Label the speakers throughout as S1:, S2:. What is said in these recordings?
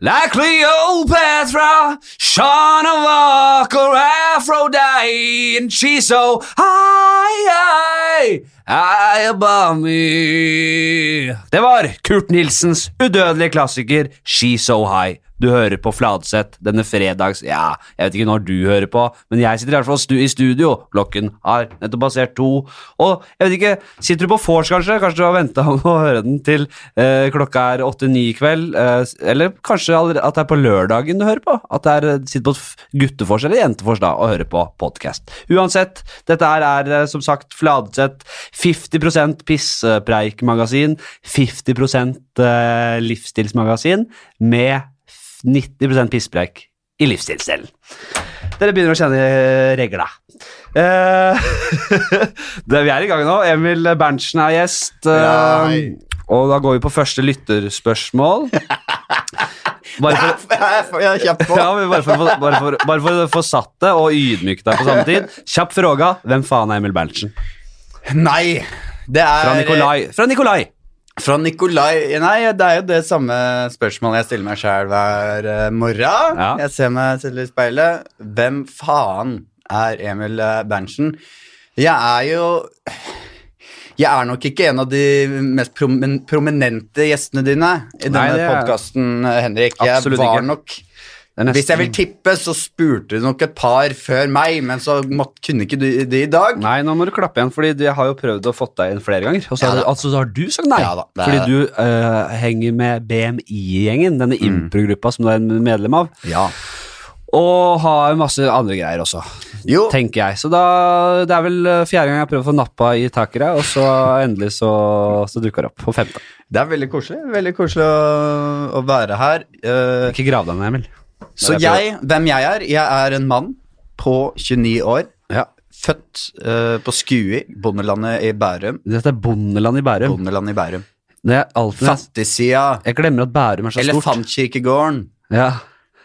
S1: Like Cleopatra, Shauna Walker, Aphrodite, and she's so high, high, high above me. Det var Kurt Nilsens udødelige klassiker She's So High. Du hører på Fladseth denne fredags Ja, jeg vet ikke når du hører på, men jeg sitter i hvert fall stu i studio. Klokken har nettopp passert to. Og jeg vet ikke, sitter du på vors, kanskje? Kanskje du har venta med å høre den til eh, klokka er åtte-ni i kveld? Eh, s- eller kanskje aller- at det er på lørdagen du hører på? At det er eh, sitter på et f- guttefors eller jentefors da og hører på podkast. Uansett, dette her er eh, som sagt Fladseth 50 pissepreikmagasin, 50 eh, livsstilsmagasin med 90 pisspreik i livsstilen. Dere begynner å kjenne regla. Eh, det, vi er i gang nå. Emil Berntsen er gjest. eh,
S2: Ja, hei.
S1: og da går vi på første lytterspørsmål. Bare for,
S2: Jeg får- jeg er kjempe
S1: ja, men bare for, bare for, bare for å få satt det og ydmyke deg på samme tid. Kjapp fråga. Hvem faen er Emil Berntsen?
S2: Nei, det er
S1: Fra Nikolai. Fra Nikolai.
S2: Fra Nikolai Nei, det er jo det samme spørsmålet jeg stiller meg sjæl hver eh, morgen.
S1: Ja.
S2: Jeg ser meg selv i speilet. Hvem faen er Emil eh, Berntsen? Jeg er jo Jeg er nok ikke en av de mest promin prominente gjestene dine i denne
S1: Nei, det er-
S2: podkasten, Henrik. Jeg
S1: Absolutt
S2: var
S1: ikke.
S2: nok
S1: Det er nesten-
S2: Hvis jeg vil tippe, så spurte du nok et par før meg, men så måtte, kunne ikke du det i dag.
S1: Nei, nå må du klappe igjen, fordi jeg har jo prøvd å få deg inn flere ganger. Og så
S2: Ja
S1: har,
S2: da.
S1: du- altså, så har du sagt nei.
S2: Ja da, det er
S1: fordi
S2: det.
S1: du eh, henger med BMI-gjengen, denne
S2: Mm.
S1: improgruppa som du er medlem av,
S2: Ja.
S1: og har masse andre greier også,
S2: Jo,
S1: tenker jeg. Så da, det er vel eh, fjerde gang jeg prøver å få nappa i takere, og så endelig så, så dukker det opp på femte.
S2: det er veldig koselig. Veldig koselig å, å være her. Eh,
S1: Ikke grav deg ned, Emil.
S2: så
S1: Det er
S2: jeg, hvem jeg er? Jeg er en mann på 29 år. Født eh, på Skui, bondelandet i Bærum.
S1: Dette er bondeland i Bærum.
S2: Bondelandet i Bærum.
S1: Det er alltid, jeg,
S2: Fattigsida.
S1: jeg glemmer at Bærum er så stort.
S2: Elefantkirkegården
S1: Ja.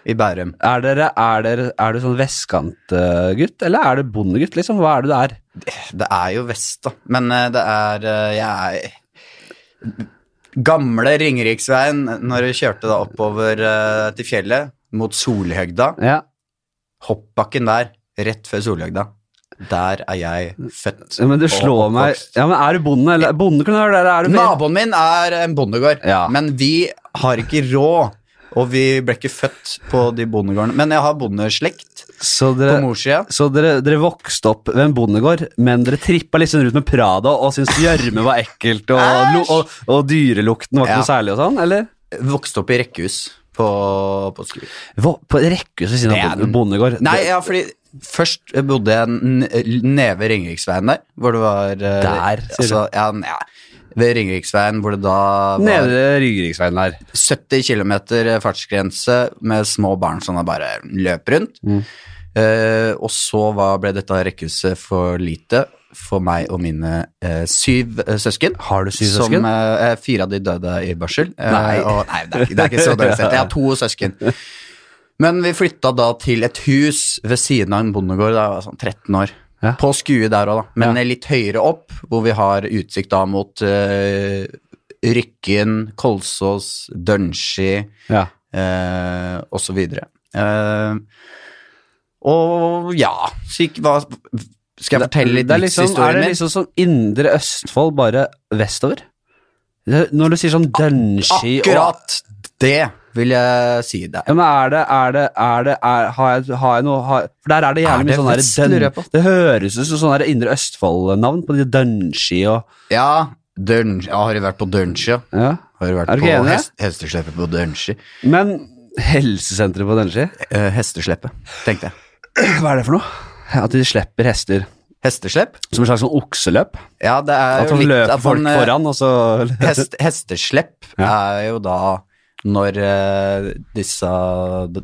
S2: i Bærum.
S1: Er, dere, er, dere, er du sånn vestkantgutt, eller er du bondegutt, liksom? Hva er det du er?
S2: Det er jo vest, da. Men eh, det er eh, Jeg er Gamle Ringeriksveien, når du kjørte da oppover eh, til fjellet, mot Solhøgda.
S1: Ja.
S2: Hoppbakken der, rett før Solhøgda. Der er jeg født.
S1: Ja, Men det
S2: og
S1: slår meg
S2: oppvokst.
S1: Ja, men er du bonde? Eller bonde kunne være der. Er du
S2: Naboen min er en bondegård,
S1: Ja.
S2: men vi har ikke råd. Og vi ble ikke født på de bondegårdene. Men jeg har bondeslekt
S1: Så
S2: på
S1: dere,
S2: morssida.
S1: så dere, dere vokste opp ved en bondegård, men dere trippa liksom rundt med Prada og syntes gjørme var ekkelt, og, lo- og, og dyrelukten var ikke
S2: Ja.
S1: noe særlig og sånn, eller?
S2: Vokste opp i rekkehus på, på Skui.
S1: Hva, på et rekkehus ved siden av
S2: Det er-
S1: bonde- bondegård?
S2: Nei, ja, fordi først bodde jeg n- nede ved Ringeriksveien der, hvor det var eh,
S1: Der, sier du.
S2: altså, ja, n- ja, Ved Ringeriksveien, hvor det da var
S1: Nede ved Rygeriksveien der.
S2: 70 km fartsgrense med små barn som da bare løp rundt.
S1: Mm.
S2: Eh, og så var, ble dette rekkehuset for lite for meg og mine eh, syv eh, søsken.
S1: Har du syv
S2: som,
S1: søsken?
S2: eh, eh, fire av de døde i barsel. Eh,
S1: Nei.
S2: og, nei det, er, ikke- det er ikke så dårlig sett. Jeg har to søsken. Men vi flytta da til et hus ved siden av en bondegård da jeg var sånn 13 år.
S1: Ja.
S2: På skue der òg, da. Men litt høyere opp, hvor vi har utsikt da mot eh, Rykken, Kolsås, Dønski
S1: Ja.
S2: eh, og så videre. Eh, og ja, så gikk hva Skal jeg fortelle litt
S1: Det er liksom, Er
S2: livshistorien
S1: det
S2: min?
S1: liksom sånn indre Østfold, bare vestover? Det- Når du sier sånn Dønski og
S2: Akkurat det vil jeg si deg.
S1: Ja, men er det, er det, er det er, har, jeg, har jeg noe har, For der er det
S2: Er
S1: gjerne mye
S2: det
S1: sånn der
S2: vest, lurer jeg
S1: dønn- Det høres ut som sånn der Indre Østfold-navn på de Dønski og
S2: Ja, Dønski ja, Har du vært på Dønski? ja?
S1: ja.
S2: Har du vært
S1: Er du ikke
S2: på
S1: enig?
S2: hest, hestesleppet på Dønski?
S1: Men helsesenteret på Dønski,
S2: Eh, hestesleppet, tenkte jeg.
S1: hva er det for noe? At de slipper hester
S2: Hesteslepp?
S1: som et slags sånn okseløp?
S2: Ja, det er
S1: At
S2: jo
S1: de
S2: litt
S1: løper
S2: at
S1: folk
S2: man, eh,
S1: foran, og så
S2: Hest, hesteslepp er jo da når eh, disse d-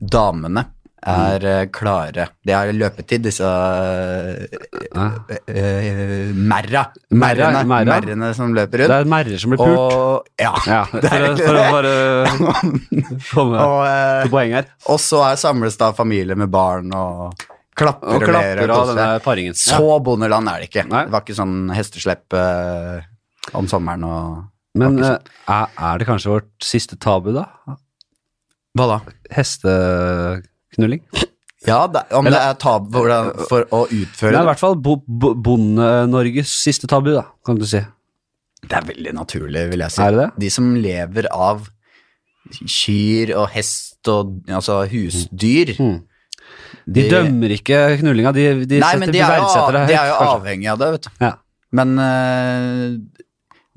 S2: damene er eh, klare. De har løpetid, disse
S1: Ja.
S2: uh, merra.
S1: Merra,
S2: Merrene,
S1: merra.
S2: merrene som løper
S1: Det
S2: rundt.
S1: er merrer som blir pult.
S2: Og, ja,
S1: Ja, for,
S2: det er
S1: å- for å bare komme
S2: og, eh,
S1: til poenget her.
S2: og så er, samles da familie med barn og klapper
S1: Og
S2: og, ler.
S1: klapper av
S2: koser
S1: denne
S2: seg.
S1: paringen. Ja.
S2: Så bondeland er det ikke.
S1: Nei.
S2: Det var ikke sånn hesteslepp eh, om sommeren og
S1: Men
S2: det var
S1: eh, er er det kanskje vårt siste tabu, da?
S2: Hva da?
S1: Hesteknulling.
S2: Ja, det, om
S1: Eller- Eh,
S2: det er tabu for, for å
S1: Det
S2: utføre
S1: er i
S2: det.
S1: hvert fall bo- bo- Bonde-Norges siste tabu, da, kan du si.
S2: Det er veldig naturlig, vil jeg si.
S1: Er det det?
S2: De som lever av kyr og hest og altså husdyr
S1: Mm. De dømmer ikke knullinga, de, de,
S2: Nei,
S1: setter,
S2: men de er, jo,
S1: verdsetter det høyt.
S2: de er jo
S1: kanskje.
S2: avhengig av det, vet du.
S1: Ja.
S2: Men eh,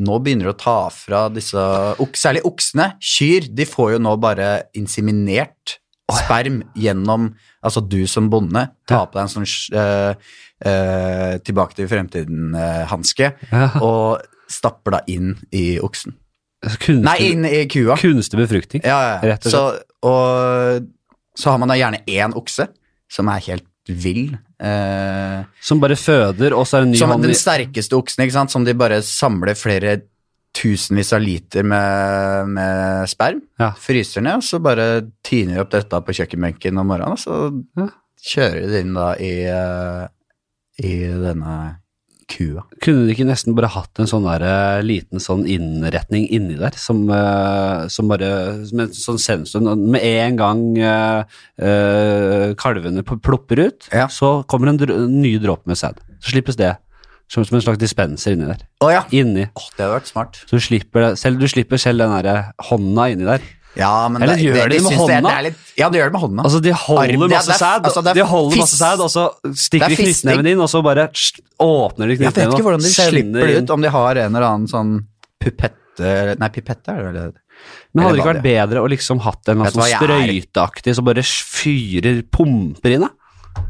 S2: nå begynner du å ta fra disse ok, Særlig oksene. Kyr. De får jo nå bare inseminert sperm gjennom Altså, du som bonde tar på deg en sånn eh, eh, Tilbake til fremtiden-hanske
S1: Ja.
S2: og stapper da inn i oksen.
S1: Kunstig,
S2: Nei, inn i kua.
S1: kunstig befruktning.
S2: Ja, ja.
S1: Rett og
S2: Så, og så har man da gjerne én okse som er helt vill. Eh,
S1: Som bare føder, og så er det en ny
S2: som
S1: hånd i
S2: den sterkeste oksen, ikke sant? som de bare samler flere tusenvis av liter med, med sperm.
S1: Ja.
S2: Fryser ned, og så bare tiner de opp dette på kjøkkenbenken om morgenen, og så
S1: Ja.
S2: kjører de det inn da i, eh, i denne kua.
S1: Kunne de ikke nesten bare hatt en sånn der, eh, liten sånn innretning inni der, som, eh, som bare som en sånn sensor Med en gang eh, eh, kalvene p- plopper ut,
S2: Ja.
S1: så kommer en, dr ny dråpe med sæd. Så slippes det. Som, som en slags dispenser inni der.
S2: Å ja!
S1: Inni.
S2: Å, det hadde vært smart.
S1: Så du slipper, det- selv, du slipper selv den derre hånda inni der.
S2: Ja, men
S1: Eller
S2: det,
S1: gjør de det med
S2: syns er-
S1: hånda?
S2: det er litt, ja, du gjør det med hånda.
S1: Altså, de
S2: Arm- det
S1: holder
S2: er-
S1: masse
S2: det er-
S1: sæd,
S2: altså, det er
S1: de holder masse
S2: fis-
S1: sæd, og så stikker de
S2: det er fisting.
S1: knyttneven inn, og så bare tss, åpner de
S2: Jeg vet
S1: knyttneven
S2: ikke hvordan de slipper det
S1: inn.
S2: ut, om de har en eller annen sånn pipette Nei, pipette er det vel det? heter.
S1: Men hadde det
S2: Eller
S1: ikke
S2: hva
S1: vært bedre å liksom hatt en eller
S2: Vet du
S1: annen sånn
S2: hva jeg
S1: sprøyteaktig som bare fyrer pumper inn, da?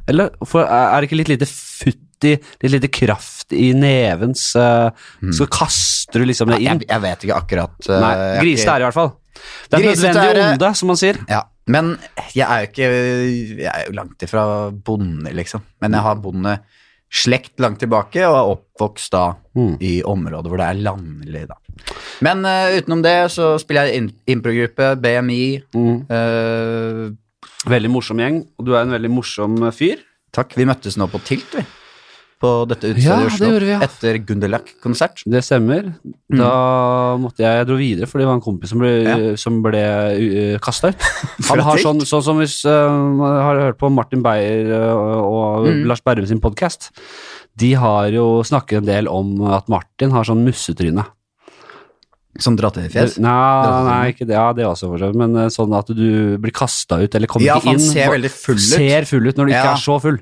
S1: Eller for, er det ikke litt lite futt i, litt lite kraft i nevens eh, Så kaster du liksom det inn?
S2: Mm. Jeg, jeg vet ikke akkurat. eh,
S1: Nei,
S2: jeg er
S1: grisete
S2: ikke-
S1: er det i hvert fall. Det er et
S2: Grisete
S1: nødvendig
S2: er det-
S1: onde, som man sier.
S2: Ja, men jeg er jo ikke Jeg er jo langt ifra bonde, liksom. Men jeg har bondeslekt langt tilbake, og er oppvokst da
S1: Mm.
S2: i områder hvor det er landlig, da. Men eh, utenom det så spiller jeg i in- improgruppe, BMI. eh,
S1: Mm. Veldig morsom gjeng, og du er en veldig morsom eh, fyr.
S2: takk. Vi møttes nå på Tilt, vi. På dette utestedet
S1: Ja,
S2: i Oslo.
S1: det gjorde vi, ja.
S2: Etter Gunderlach-konsert.
S1: Det stemmer. Da måtte jeg Jeg dro videre fordi det var en kompis som ble,
S2: Mm. Ja.
S1: som ble uh, kasta ut.
S2: Fra
S1: Han har
S2: Tilt?
S1: sånn, sånn som hvis uh, man har hørt på Martin Beyer uh, og
S2: Mm.
S1: Lars Berrum sin podkast. De har jo snakket en del om at Martin har sånn mussetryne.
S2: Som drar til i fjes?
S1: Det-
S2: sånn.
S1: Nei,
S2: Drattetryne.
S1: nei, ikke det. Ja, det også, for så vidt. Men uh, sånn at du blir kasta ut eller kommer
S2: Ja, for
S1: ikke
S2: han
S1: inn.
S2: ser
S1: Hva-
S2: veldig full ut.
S1: Ser full ut når du ikke
S2: Ja.
S1: er så full.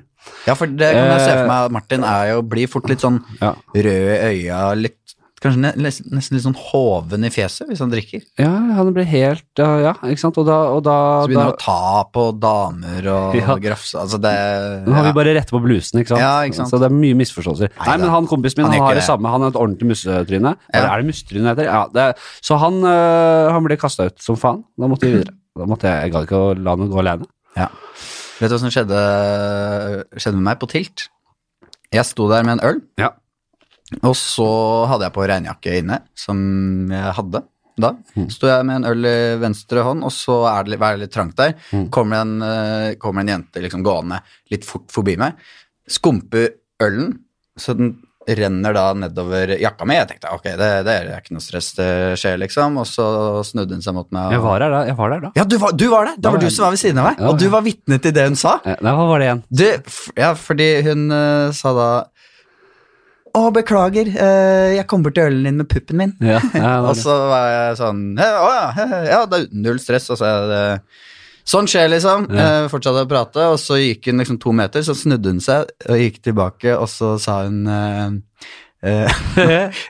S2: Ja, for det kan jeg se
S1: Eh,
S2: for meg. at Martin er jo, blir fort litt sånn
S1: Ja.
S2: rød i øya, litt, kanskje ne- nes- nesten litt sånn hoven i fjeset hvis han drikker.
S1: Ja, han blir helt Ja, ja ikke sant. Og da, og da, da
S2: Så begynner han å ta på damer og
S1: Ja.
S2: grafse. Altså det
S1: Nå har
S2: ja.
S1: vi bare rett på blusen, ikke sant?
S2: Ja, ikke sant.
S1: Så det er mye misforståelser. Nei,
S2: da.
S1: men han kompisen min han,
S2: Han gjør ikke
S1: har det
S2: det.
S1: samme, han har et ordentlig mussetryne. Eller
S2: Ja.
S1: er det mussetryne det heter? Ja, det er, så han, øh, han ble kasta ut som faen. Da måtte vi videre. Da måtte jeg, jeg gadd ikke å la han gå alene.
S2: Ja. Vet du hva som skjedde, skjedde med meg på tilt? Jeg sto der med en øl,
S1: Ja.
S2: og så hadde jeg på regnjakke inne, som jeg hadde da.
S1: Mm.
S2: Sto jeg med en øl i venstre hånd, og så er det litt, var det litt trangt der.
S1: Mm.
S2: Kommer en, eh, kommer en jente liksom gående litt fort forbi meg, skumper ølen, så den renner da nedover jakka mi. Jeg tenkte ok, det, det er ikke noe stress, det skjer liksom. Og så snudde hun seg mot meg. og-
S1: Jeg var her da. Jeg var der da.
S2: ja, du var, du var det.
S1: Da
S2: Da var
S1: var
S2: du
S1: jeg-
S2: som var ved siden av meg,
S1: Ja,
S2: og du
S1: ja.
S2: var vitne til det hun sa.
S1: Eh, Nei, hva var det igjen?
S2: Du, f ja, fordi hun eh, sa da Å, beklager, eh, jeg kom bort til ølen din med puppen min.
S1: Ja, ja, det var
S2: Og
S1: det.
S2: så var jeg sånn «Hæ, Å ja, hæ, hæ, ja, det er null stress. Og så er det Sånn skjer, liksom. Eh, fortsatte å prate, og så gikk hun liksom to meter, så snudde hun seg og gikk tilbake, og så sa hun eh, eh,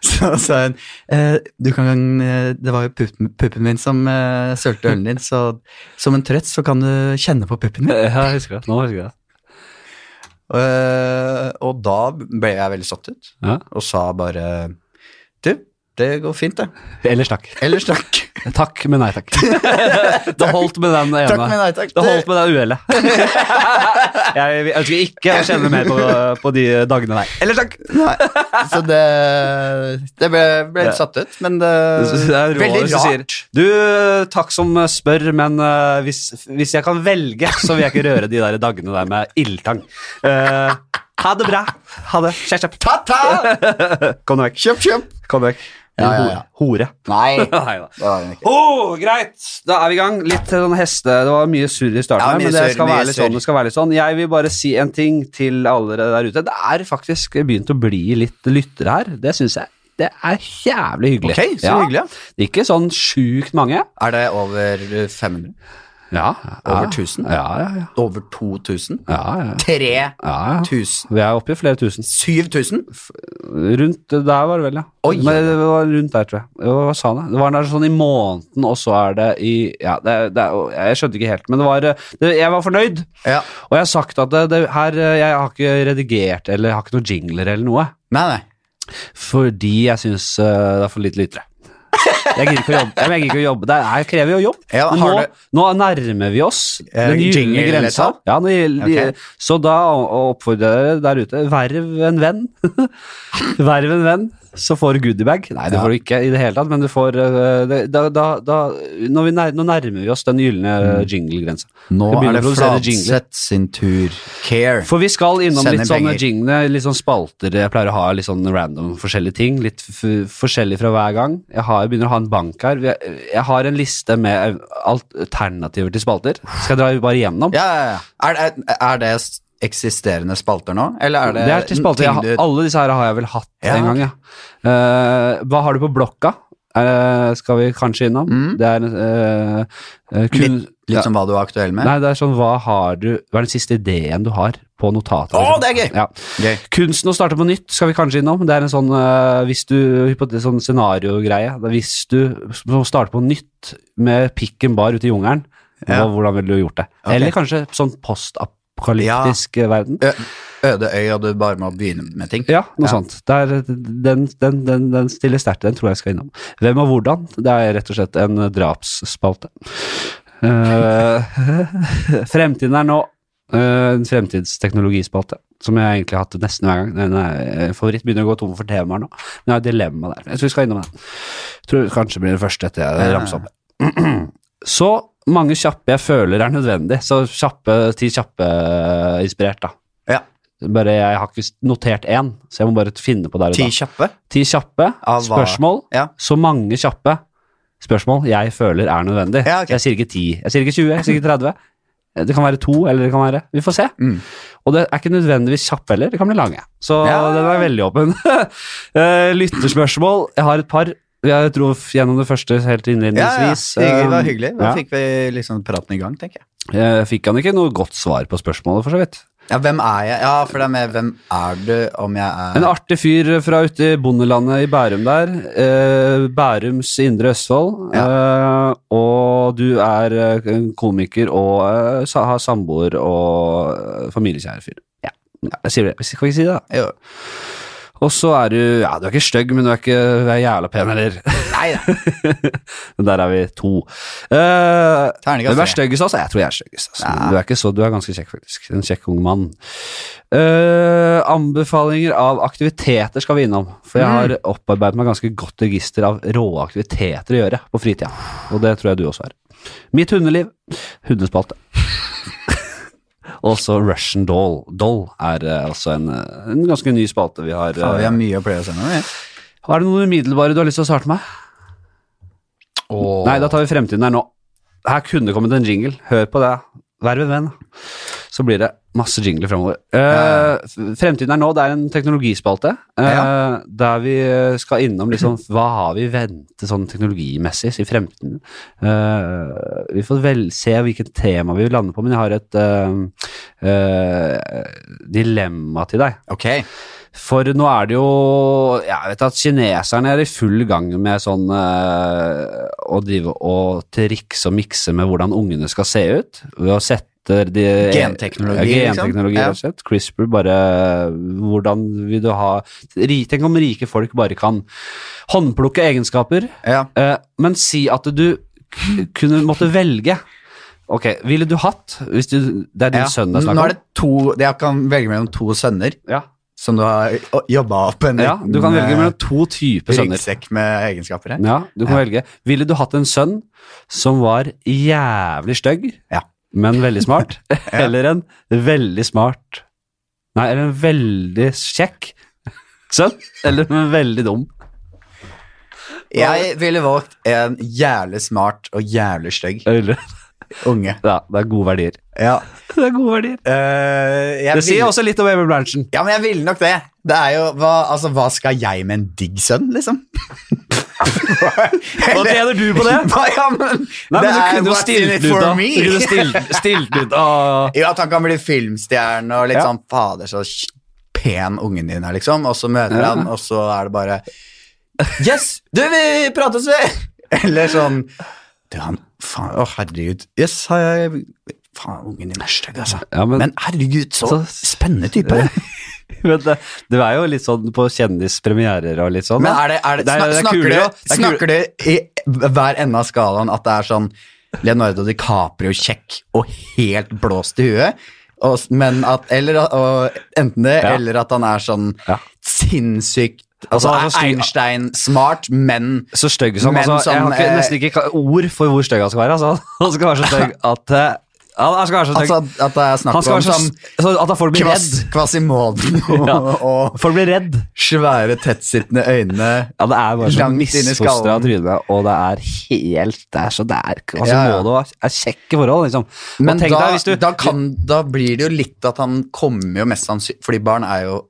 S2: Så sa hun eh, Du kan eh, Det var jo puppen, puppen min som eh, sølte ølen din, så som en trøtt så kan du kjenne på puppen
S1: Eh,
S2: min.
S1: ja, jeg husker det. Nå husker jeg det.
S2: Eh, og da ble jeg veldig satt ut,
S1: Ja.
S2: og sa bare Du, det går fint, det.
S1: Ellers takk.
S2: Ellers takk.
S1: Takk, men nei takk. Det holdt med den ene.
S2: Takk, men nei takk.
S1: Det holdt med det uhellet. Jeg ønsker ikke å kjenne mer på, på de dagene der.
S2: Eller takk! Nei. Så det, det ble, ble litt satt ut, men det,
S1: Det er rå
S2: Eh, veldig
S1: hvis du sier,
S2: rart.
S1: Du, eh, takk som spør, men eh, hvis, hvis jeg kan velge, så vil jeg ikke røre de der dagene der med ildtang. Eh, ha det bra. Ha det. Kjære,
S2: Ta-ta!
S1: Kom deg vekk.
S2: Kjøp, kjøp!
S1: Kom deg vekk.
S2: Ja, ja,
S3: Eller
S2: ja.
S3: hore. hore.
S2: Nei, det
S1: Nei da.
S2: var hun ikke.
S1: Oh, greit! Da er vi i gang. Litt sånn heste Det var mye surr i starten,
S2: Ja,
S1: her,
S2: mye
S1: men det
S2: surr,
S1: skal,
S2: mye
S1: være litt
S2: surr.
S1: sånn, det skal være litt sånn. Jeg vil bare si en ting til alle dere der ute. Det er faktisk begynt å bli litt lyttere her. Det syns jeg. Det er jævlig hyggelig.
S2: Ok, så hyggelig, ja.
S1: Det er Ikke sånn sjukt mange.
S2: Er det over 500?
S1: Ja.
S2: Over 1000?
S1: Ja, ja, ja.
S2: Over 2000?
S1: ja, ja.
S2: 3000?
S1: ja, ja. Vi er oppe i flere tusen.
S2: 7000?
S1: Rundt der var det vel, ja.
S2: Oi,
S1: Men det var rundt der, tror jeg. Hva hva sa han? Det var der sånn i måneden, og så er det i Ja, det, det, jeg skjønte ikke helt, men det var eh, det, Jeg var fornøyd.
S2: Ja.
S1: Og jeg har sagt at det, det her eh, Jeg har ikke redigert eller jeg har ikke noen jingler eller noe.
S2: Nei, nei.
S1: Fordi jeg syns det er for lite lyttere. Jeg gidder ikke å jobbe. Jeg gidder ikke å jobbe. Det er, krever jo jobb.
S2: Ja,
S1: Men
S2: har
S1: nå,
S2: du-
S1: nå nærmer vi oss
S2: Eh,
S1: den gylne
S2: jingle-tall?
S1: grensa. Ja, nå gjelder- de-
S2: Ok.
S1: Så da å- å oppfordrer jeg dere der ute verv en venn. verv en venn, så får du goodiebag. Nei, det
S2: Ja.
S1: får du ikke i det hele tatt, men du får eh, det, da, da, da, når vi nær, Nå nærmer vi oss den gylne eh, jingle-grensa.
S2: Mm. Nå
S1: Skal begynne
S2: er det
S1: å produsere jingler.
S2: Flatseth sin tur. Care.
S1: For vi skal innom
S2: Sender
S1: litt sånne
S2: penger.
S1: jingle, litt sånn spalter. Jeg pleier å ha litt sånn random forskjellige ting. Litt f forskjellig fra hver gang. Jeg, har, jeg begynner å ha en bank her. Vi- Jeg har en liste med alternativer til spalter. Skal jeg dra bare gjennom?
S2: Ja, ja, ja. Er, er, er det s- eksisterende spalter nå, eller er det,
S1: det er til spalter. Jeg,
S2: ting
S1: har-
S2: du
S1: alle disse her har jeg vel hatt
S2: Ja,
S1: en gang, ja. Eh, hva har du på blokka? Eh, skal vi kanskje innom? Det er eh, eh, kun,
S2: Mm. Litt sånn,
S1: ja.
S2: som hva du er aktuell med?
S1: Nei, det er sånn, hva har du Hva er den siste ideen du har på notatet?
S2: Å, det er gøy!
S1: Ja.
S2: Gøy.
S1: Kunsten å starte på nytt skal vi kanskje innom. Det er en sånn, eh, hvis du, hypote- sånn scenario-greie. Det er Hvis du s- må starte på nytt med pikken bar ute i jungelen,
S2: Ja.
S1: hva- hvordan ville du gjort det?
S2: Ok.
S1: Eller kanskje sånn postapokalyptisk eh, verden.
S2: Ø øde øy, og du bare må begynne med ting?
S1: Ja, noe
S2: Ja.
S1: sånt. Det er, den, den, den, den stiller sterkt, den tror jeg skal innom. Hvem og hvordan? Det er rett og slett en drapsspalte. Eh, fremtiden er nå. eh, en fremtidsteknologispalte, som jeg egentlig har hatt nesten hver gang. Den er eh, favoritt. Begynner å gå tom for temaer nå. Men jeg har et dilemma der. Jeg tror vi skal innom den. Tror det kanskje blir den første etter jeg ramser opp. Så mange kjappe jeg føler er nødvendig. Så kjappe, ti kjappe eh, inspirert, da.
S2: Ja.
S1: Bare jeg har ikke notert én, så jeg må bare finne på der og
S2: Ti
S1: da.
S2: kjappe?
S1: Ti kjappe
S2: Av hva?
S1: spørsmål.
S2: Ja.
S1: Så mange kjappe spørsmål jeg føler er nødvendig.
S2: Ja, ok.
S1: Jeg sier ikke ti, jeg sier ikke 20, jeg sier ikke 30. Det kan være to, eller det kan være Vi får se.
S2: Mm.
S1: Og det er ikke nødvendigvis kjappe heller, det kan bli lange. Så
S2: Ja.
S1: den er veldig åpen. Eh, Lytterspørsmål. Jeg har et par. Jeg dro gjennom det første helt
S2: Ja, ja.
S1: innledningsvis.
S2: Hyggelig, det var
S1: Eh,
S2: hyggelig. Da
S1: ja.
S2: fikk vi liksom praten i gang, tenker jeg.
S1: Jeg Eh, fikk han ikke noe godt svar på spørsmålet, for så vidt.
S2: Ja, hvem er jeg? Ja, for det er med hvem er du, om jeg er
S1: En artig fyr eh, fra ute i bondelandet i Bærum der. Eh, Bærums indre Østfold. Eh, og du er eh, en komiker og eh, sa, har samboer og eh, familiekjære fyr. Ja. Jeg sier det. Kan vi ikke si det, da?
S2: jo.
S1: Og så er du Ja, du er ikke stygg, men du er ikke du er jævla pen heller. Nei Der er vi to. Eh, hvem
S2: Terningkast
S1: er
S2: tre.
S1: styggest, altså? Jeg tror jeg er styggest. Altså.
S2: Ja.
S1: Du er ikke så, du er ganske kjekk, faktisk. En kjekk ung mann. Eh, anbefalinger av aktiviteter skal vi innom. For jeg har
S2: Mm.
S1: opparbeidet meg ganske godt register av rå aktiviteter å gjøre på fritida. Og det tror jeg du også er. Mitt hundeliv. Hundespalte. Også Russian Doll. Doll er eh, altså en, eh, en ganske ny spalte vi har.
S2: Faen, vi
S1: eh.
S2: har mye å pløye oss gjennom, vi.
S1: Er det noen umiddelbare du har lyst til å starte med?
S2: Åh.
S1: Nei, da tar vi fremtiden her nå. Her kunne det kommet en jingle. Hør på det. Vær ved venn. Så blir det masse jingler fremover. Eh, f- Fremtiden er nå. Det er en teknologispalte eh, der vi eh, skal innom liksom, hva har vi ventet sånn teknologimessig i fremtiden. Eh, vi får vel se hvilket tema vi vil lande på, men jeg har et eh, eh, dilemma til deg.
S2: Ok.
S1: For nå er det jo Jeg vet at kineserne er i full gang med sånn eh, Å drive og trikse og mikse med hvordan ungene skal se ut. Ved å sette de
S2: Genteknologi,
S1: ja,
S2: liksom.
S1: genteknologi
S2: Ja.
S1: rett og slett. CRISPR bare eh, Hvordan vil du ha ri- Tenk om rike folk bare kan håndplukke egenskaper,
S2: Ja.
S1: eh, men si at du k kunne måtte velge. Ok, ville du hatt hvis du, Det er din
S2: ja.
S1: sønn det er
S2: Nå
S1: snakk
S2: er
S1: om.
S2: det to Jeg kan velge mellom to sønner
S1: Ja.
S2: som du har jobba opp en
S1: ja, du kan
S2: liten,
S1: velge
S2: eh,
S1: mellom to typer sønner.
S2: ryggsekk med egenskaper her.
S1: Ja, du kan velge. Ville du hatt en sønn som var jævlig stygg,
S2: Ja.
S1: men veldig smart? Eller en veldig smart Nei, eller en veldig kjekk sønn? Eller en veldig dum?
S2: Jeg ville valgt en jævlig smart og jævlig stygg
S1: Øyre. Eh,
S2: unge.
S1: Ja, det er gode verdier.
S2: Ja.
S1: Det er gode verdier.
S2: Eh, jeg
S1: Det sier
S2: ville-
S1: også litt om Emil Berntsen.
S2: Ja, men jeg ville nok det. Det er jo Hva, altså, hva skal jeg med en digg sønn, liksom?
S1: Hva tjener du på det?
S2: Hva, ja, men,
S1: Nei, men
S2: det
S1: du
S2: er
S1: kunne jo
S2: what's in
S1: stilt
S2: it
S1: den ut,
S2: for
S1: da.
S2: me.
S1: Du kunne stilt, stilt den ut ah. av
S2: Jo, at han kan bli filmstjerne og litt
S1: Ja.
S2: sånn Fader, så kj- pen ungen din er, liksom. Og så møter
S1: Ja.
S2: han, og så er det bare Yes! Du, vi prates, vi! Eller sånn Du, han Faen, å herregud. Yes, har jeg Faen, ungen din er stygg, altså.
S1: Ja, men-
S2: men, herregud, så,
S1: Så-
S2: spennende type.
S1: Men det, det er jo litt sånn på kjendispremierer og litt sånn.
S2: Men
S1: da.
S2: er det, er det,
S1: Det er-
S2: snak-
S1: det er
S2: snakker,
S1: kulere,
S2: du,
S1: da. Det er
S2: snakker du i hver ende av skalaen at det er sånn Leonardo DiCaprio kjekk og helt blåst i huet? Og, s- men at, eller, at- og, enten det,
S1: Ja.
S2: eller at han er sånn
S1: Ja.
S2: sinnssykt
S1: Altså,
S2: Altså,
S1: han er
S2: er
S1: stor-
S2: Einstein smart, men
S1: Så stygg som
S2: Men
S1: altså, Jeg
S2: sånn,
S1: har ikke,
S2: eh,
S1: nesten ikke ka- ord for hvor stygg han skal være. Altså. Han skal være så stygg at eh, han, han skal være så stygg
S2: altså, at det er snakk
S1: Han skal
S2: om
S1: være så,
S2: sånn
S1: så at da folk blir
S2: kvas,
S1: redd.
S2: Kvasimoden og,
S1: Ja.
S2: og
S1: Folk blir redd.
S2: svære, tettsittende øyne.
S1: Ja, det er bare så
S2: Langt inn i
S1: misfostra
S2: skallen.
S1: tryne, og det er helt Det er så det er Altså,
S2: Ja, ja.
S1: må det være- er kjekke forhold, liksom. Og
S2: Men
S1: tenk
S2: da,
S1: deg hvis du
S2: da, kan, da blir det jo litt at han kommer jo mest sannsynlig Fordi barn er jo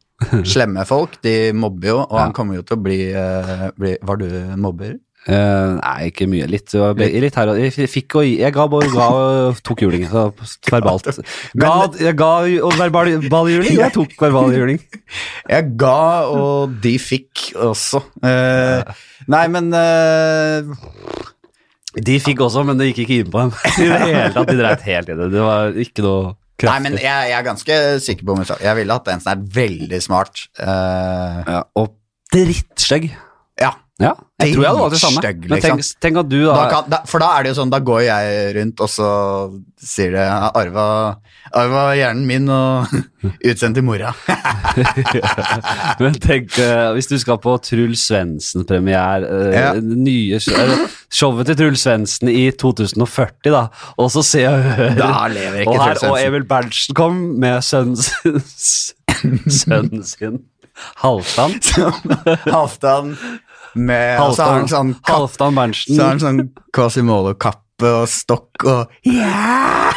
S2: slemme folk, de mobber jo, og han kommer jo til å bli, eh, bli Var du mobber?
S1: Eh, Nei, ikke mye. Litt, det var be- litt her og Jeg fikk og Jeg ga og ga og tok juling. Så verbalt. Ga, jeg ga og verbal, verbal juling, og jeg tok verbal juling.
S2: Jeg ga, og de fikk også. Eh, nei, men eh,
S1: De fikk også, men det gikk ikke inn på dem. I det hele tatt, De dreit helt i det. Det var ikke noe
S2: Nei,
S1: kraftig.
S2: men jeg, jeg er ganske sikker på meg selv. Jeg ville hatt en som er veldig smart. Eh,
S1: ja, og drittstygg.
S2: ja.
S1: Ja, jeg tror jeg hadde valgt det samme.
S2: Drittstygg, liksom.
S1: Men tenk, tenk at du da,
S2: Da kan, da, for da er det jo sånn, da går jeg rundt, og så sier det «Jeg arva, arva hjernen min og utsendt til mora.
S1: Men tenk eh, hvis du skal på Truls Svendsen-premiere, eh,
S2: Ja.
S1: det nye sh- eller showet til Truls Svendsen i 2040, da, og så ser jeg
S2: Da lever ikke
S1: og, her,
S2: Truls Svendsen.
S1: og Emil Berntsen kom med sønnen sin, sønnen sin Halvdan.
S2: Halvdan med og Så har
S1: Halvdan,
S2: han sånn, kapp,
S1: Halvdan Berntsen.
S2: så har han sånn Quasimodo-kappe og stokk og Ja!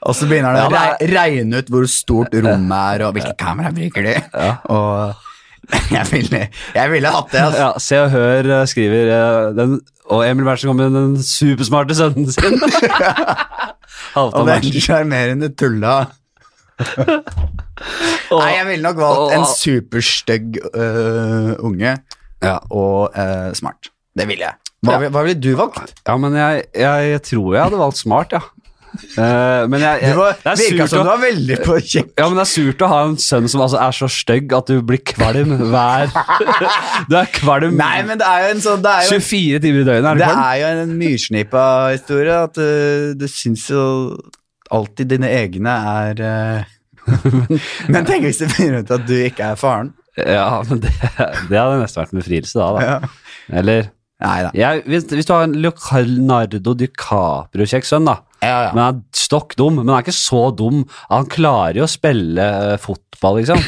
S2: Og så begynner han å
S1: Ja,
S2: rei- regne ut hvor stort rommet er, og hvilke kamera bruker de. Og jeg ville, jeg ville hatt det, altså.
S1: Ja, Se og Hør eh, skriver eh, den, Og Emil Berntsen kom med den supersmarte sønnen sin. Halvdan
S2: Og den
S1: Berntsen.
S2: sjarmerende tulla.
S1: Og-
S2: Nei, jeg ville nok valgt
S1: og-
S2: en superstygg øh, unge
S1: Ja.
S2: og øh, smart. Det ville jeg. Hva,
S1: Ja.
S2: hva ville du valgt?
S1: Ja, men jeg, jeg, jeg tror jeg hadde valgt smart, ja. Eh, men jeg, jeg,
S2: Du var,
S1: det, er
S2: virka
S1: surt
S2: som du
S1: å,
S2: var veldig på kjekk.
S1: ja, men det er surt å ha en sønn som altså er så stygg at du blir kvalm hver Du er kvalm
S2: Nei, men det er jo en sånn Det er jo,
S1: 24 timer i døgnet. Er du
S2: det
S1: kvalm?
S2: er jo en myrsnipa historie at øh, du syns jo alltid dine egne er øh, Men tenk hvis du finner ut at du ikke er faren.
S1: Ja, men det, det hadde nesten vært en befrielse da. da.
S2: Ja.
S1: Eller
S2: Nei da.
S1: jeg, hvis, hvis du har en Leonardo DiCaprio-kjekk sønn, da.
S2: Ja, ja.
S1: Men han er stokk dum, men han er ikke så dum. Han klarer jo å spille eh, fotball, liksom.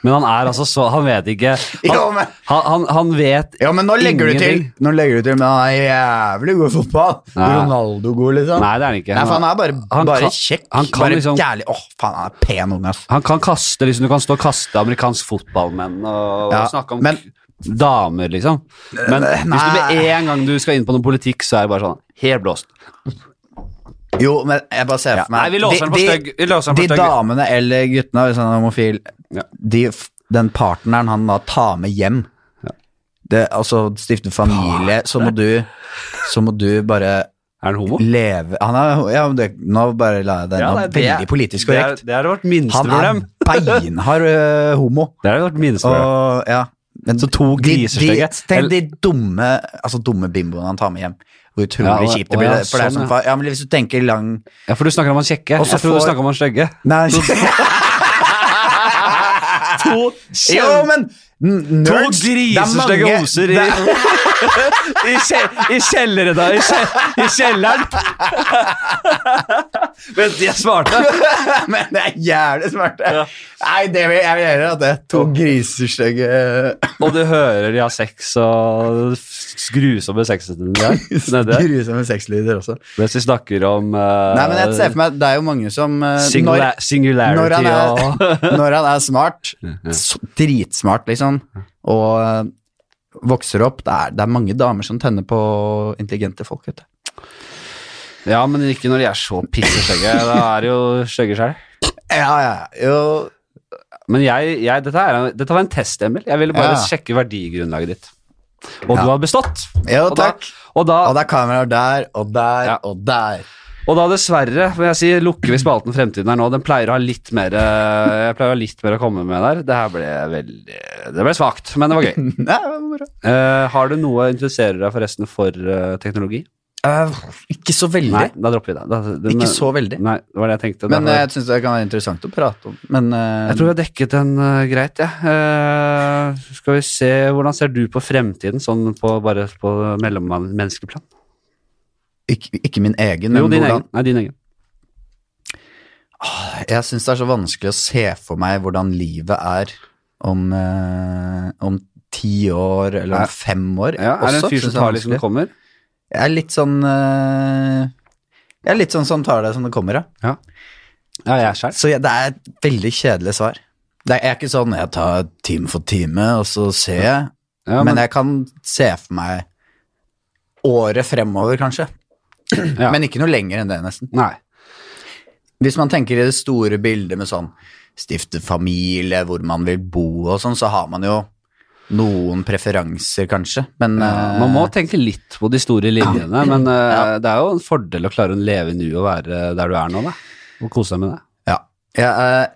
S1: Men han er altså så Han vet ikke Han,
S2: Jo, men-
S1: han, han, han vet
S2: Ja, men nå legger
S1: Ingenting.
S2: du til Nå legger du til Men han er jævlig god i fotball
S1: Nei.
S2: Ronaldo god liksom
S1: Nei, det er han ikke.
S2: Nei, for han er bare,
S1: han
S2: bare
S1: kan-
S2: kjekk
S1: han kan
S2: Bare
S1: liksom-
S2: jævlig Åh, faen, han er pen unge ass
S1: Han kan kaste, liksom, du kan stå og kaste amerikansk fotballmenn og
S2: Ja,
S1: snakke om
S2: men- Eh,
S1: k- damer, liksom. Men
S2: Nei.
S1: hvis du med en gang du skal inn på noe politikk, så er det bare sånn helt blåst.
S2: Jo, men jeg bare ser for meg
S1: Nei, vi låser den på
S2: de-
S1: stygg. Vi låser
S2: De,
S1: den på
S2: de
S1: stygg.
S2: damene eller guttene Hvis han er homofil
S1: Ja.
S2: de, f- Den partneren han da tar med hjem det, Altså stifte familie Så må du Så må du bare
S1: Er han homo?
S2: leve Han er ja, men det, Nå bare la jeg den
S1: Ja,
S2: ja,
S1: det er- det er-
S2: Veldig politisk
S1: Det er,
S2: korrekt
S1: det er vårt
S2: Han
S1: minste
S2: er
S1: problem.
S2: beinhard øh, homo
S1: Det er vårt minste problem.
S2: Og, ja. Men
S1: Så to
S2: de-
S1: griser
S2: de-
S1: stygge.
S2: Tenk de dumme, altså dumme bimboene han tar med hjem. Hvor
S1: Ja,
S2: utrolig
S1: og-
S2: kjipt det
S1: og
S2: blir.
S1: ja,
S2: det, for det er
S1: sånn,
S2: sånn, fa- ja, men Hvis du tenker lang
S1: Ja, for du snakker om han kjekke.
S2: Og så
S1: Jeg tror
S2: får-
S1: du snakker om han stygge.
S2: Nei
S1: To
S2: Jo, men n-
S1: To
S2: nerds, det er
S1: grisestygge
S2: mange-
S1: hoser i,
S2: det er-
S1: i, kje- i kjelleren, da. I, kje, i kjelleren. Mens de er smarte.
S2: Men det er jævlig smart.
S1: Ja.
S2: Nei, det vil jeg vil gjøre. At det er to grisestygge
S1: Og du hører de har sex og s- grusomme sexete de har nede.
S2: grusomme sexlyder også.
S1: Mens de snakker om eh,
S2: Nei, men jeg ser for meg at det er jo mange som eh,
S1: singula singularity
S2: når han er-
S1: og
S2: når, når han er smart, s- dritsmart liksom, og eh, vokser opp det er, det er mange damer som tenner på intelligente folk, vet du.
S1: Ja, men ikke når de er så pissestygge. Da er de jo stygge sjøl.
S2: Ja, ja, jo
S1: Men jeg, jeg, dette, er, dette var en test, Emil. Jeg ville bare
S2: Ja.
S1: sjekke verdigrunnlaget ditt. Og
S2: Ja.
S1: du har bestått.
S2: Jo,
S1: Og da-
S2: takk.
S1: Og da,
S2: Og det er kameraer der og der
S1: Ja.
S2: og der.
S1: og da dessverre, vil jeg si, lukker vi spalten Fremtiden her nå. Den pleier å ha litt mer eh, Jeg pleier å ha litt mer å komme med der. Det her ble veldig Det ble svakt, men det var gøy.
S2: Nei, det var moro.
S1: Eh, har du noe interesserer deg forresten for eh, teknologi?
S2: Eh, ikke så veldig.
S1: Nei, da dropper vi det. Da, den- eh,
S2: ikke så veldig.
S1: Nei, det var det jeg tenkte.
S2: eh, Men
S1: Derfor-
S2: eh, jeg syns det kan være interessant å prate om. Men eh,
S1: Jeg tror vi har dekket den eh, greit, jeg. Eh, skal vi se, hvordan ser du på fremtiden, sånn på, bare på mellommenneskelig plan?
S2: ikke, ikke min egen, men
S1: Jo, din
S2: hvordan
S1: egen. Nei, din egen.
S2: Jeg syns det er så vanskelig å se for meg hvordan livet er om, eh, om ti år eller
S1: Ja.
S2: om fem år.
S1: Ja, er det en
S2: også,
S1: fyr som
S2: synes jeg
S1: tar liksom
S2: vanskelig.
S1: kommer?
S2: Jeg er litt sånn eh, Jeg er litt sånn som tar det som det kommer, ja.
S1: Ja, jeg er sjæl.
S2: Så jeg, det er et veldig kjedelig svar. Det er, jeg er ikke sånn jeg tar time for time, og så ser jeg.
S1: Ja,
S2: men,
S1: men,
S2: jeg kan se for meg året fremover, kanskje.
S1: Ja.
S2: Men ikke noe lenger enn det, nesten.
S1: nei.
S2: Hvis man tenker i det store bildet med sånn stifte familie, hvor man vil bo og sånn, så har man jo noen preferanser, kanskje. Men eh,
S1: Man må tenke litt på de store linjene, men eh, det er jo en fordel å klare å leve i nu og være der du er nå, da. Og kose deg med det.
S2: Ja. Jeg er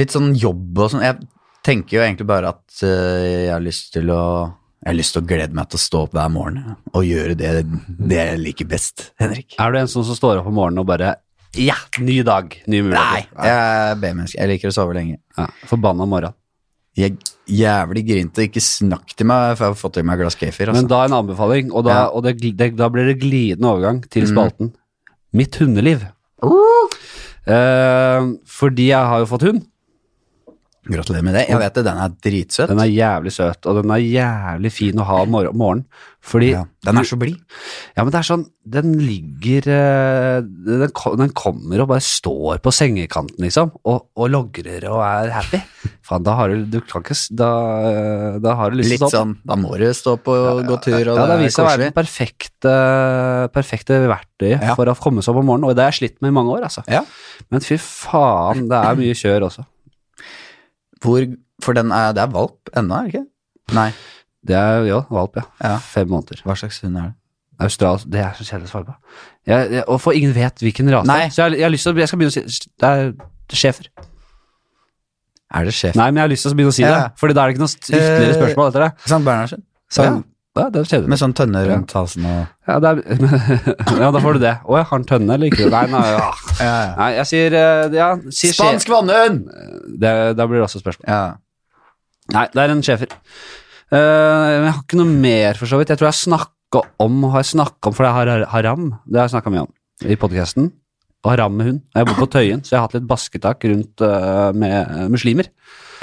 S2: litt sånn jobb og sånn. Jeg tenker jo egentlig bare at eh, jeg har lyst til å jeg har lyst til å glede meg til å stå opp hver morgen ja, og gjøre det, det jeg liker best, Henrik.
S1: Er du en sånn som står opp om morgenen og bare Ja, ny dag, nye
S2: Nei,
S1: muligheter.
S2: jeg er B-menneske. Jeg liker å sove lenge.
S1: Ja, forbanna morgen.
S2: Jeg er jævlig grinte. Ikke snakk til meg før jeg har fått i meg et glass kefir.
S1: Men
S2: Altså.
S1: da en anbefaling, og, da,
S2: Ja. Mm.
S1: og det, gl- det, da blir det glidende overgang til spalten. Mitt hundeliv.
S2: Uh.
S1: Eh, fordi jeg har jo fått hund.
S2: Gratulerer med det. Jeg vet det, den er dritsøt.
S1: Den er jævlig søt, og den er jævlig fin å ha om mor- morgenen. Fordi
S2: ja, den er så blid.
S1: Ja, men det er sånn, den ligger eh, Den, ko- den kommer og bare står på sengekanten, liksom, og, og logrer og er happy. Faen, da har du Du kan ikke s- Da, eh, da har du lyst til å stå
S2: Litt
S1: opp.
S2: sånn Da må du stå opp og gå tur, og
S1: Ja, det har
S2: det er
S1: vist seg å være
S2: koselig.
S1: det perfekte, perfekte verktøyet
S2: Ja.
S1: for å komme seg opp om morgenen, og det har jeg slitt med i mange år, altså.
S2: Ja.
S1: Men fy faen, det er mye kjør også.
S2: Hvor, for den er, det er valp ennå, er det ikke? Nei.
S1: Det er jo valp, ja.
S2: Ja.
S1: Fem måneder.
S2: Hva slags hund er det?
S1: Austral, det er så kjedelig å svare på. Jeg, jeg, og for ingen vet hvilken rase.
S2: Nei.
S1: Så jeg, jeg har lyst til å, jeg skal begynne å si, det er sjefer.
S2: Er det sjef?
S1: Nei, men jeg har lyst til å begynne å si
S2: Ja.
S1: det, Fordi da er det ikke noe ytterligere
S2: Eh,
S1: spørsmål etter det.
S2: Sant Bernhardsen?
S1: Så, ja.
S2: Ja.
S1: det er kjedelig.
S2: Med sånn tønne rundt halsen og
S1: ja, det er, ja, da får du det. Å, jeg har en tønne eller ikke? Nei, nei, ja. nei jeg sier, eh, ja, sier sjef.
S2: Spansk vannhund!
S1: Det, da blir det også spørsmål.
S2: Ja.
S1: Nei, det er en schæfer. Eh, men jeg har ikke noe mer, for så vidt. Jeg tror jeg snakka om, har jeg snakket om for det har har- haram. Det har jeg snakka mye om i podkasten. Og haram med hund. Og Jeg bor på Tøyen, så jeg har hatt litt basketak rundt eh, med eh, muslimer.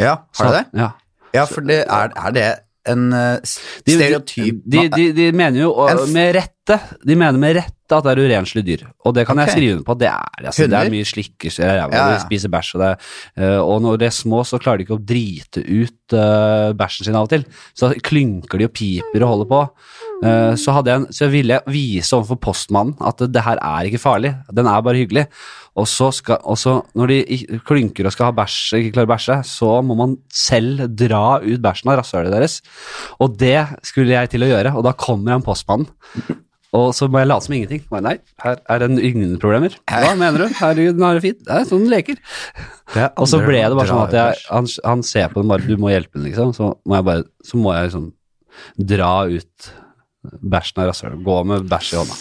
S2: ja. Har du det?
S1: Så- Ja.
S2: Ja, for det er, er det en eh, s-
S1: De-
S2: stereotyp
S1: De, de, de mener jo, og
S2: En f-
S1: med rette, de mener med rette at det er urenslige dyr. Og det kan
S2: Ok.
S1: jeg skrive under på. Det er, det, altså, det
S2: Hunder?
S1: er mye slikker, så jeg,
S2: Ja, ja.
S1: de spiser bæsj. Og, det, eh, og når de er små, så klarer de ikke å drite ut eh, bæsjen sin av og til. Så klynker de og piper og holder på. Eh, så, hadde jeg en, så ville jeg vise overfor postmannen at det, det her er ikke farlig. Den er bare hyggelig. Og så, skal, og så når de i- klynker og skal ha bæsj, ikke klarer å bæsje, så må man selv dra ut bæsjen av rasshølet deres. Og det skulle jeg til å gjøre, og da kommer han postmannen. Og så må jeg late som ingenting. Bare, Nei, her er det ingen problemer. Hva mener du? Herregud, nå er det fint. Det er sånn den leker. Og så ble det bare sånn at jeg, han, han ser på den bare, du må hjelpe den, liksom. Så må jeg bare, så må jeg liksom dra ut bæsjen av rasshølet. Gå med bæsj i hånda.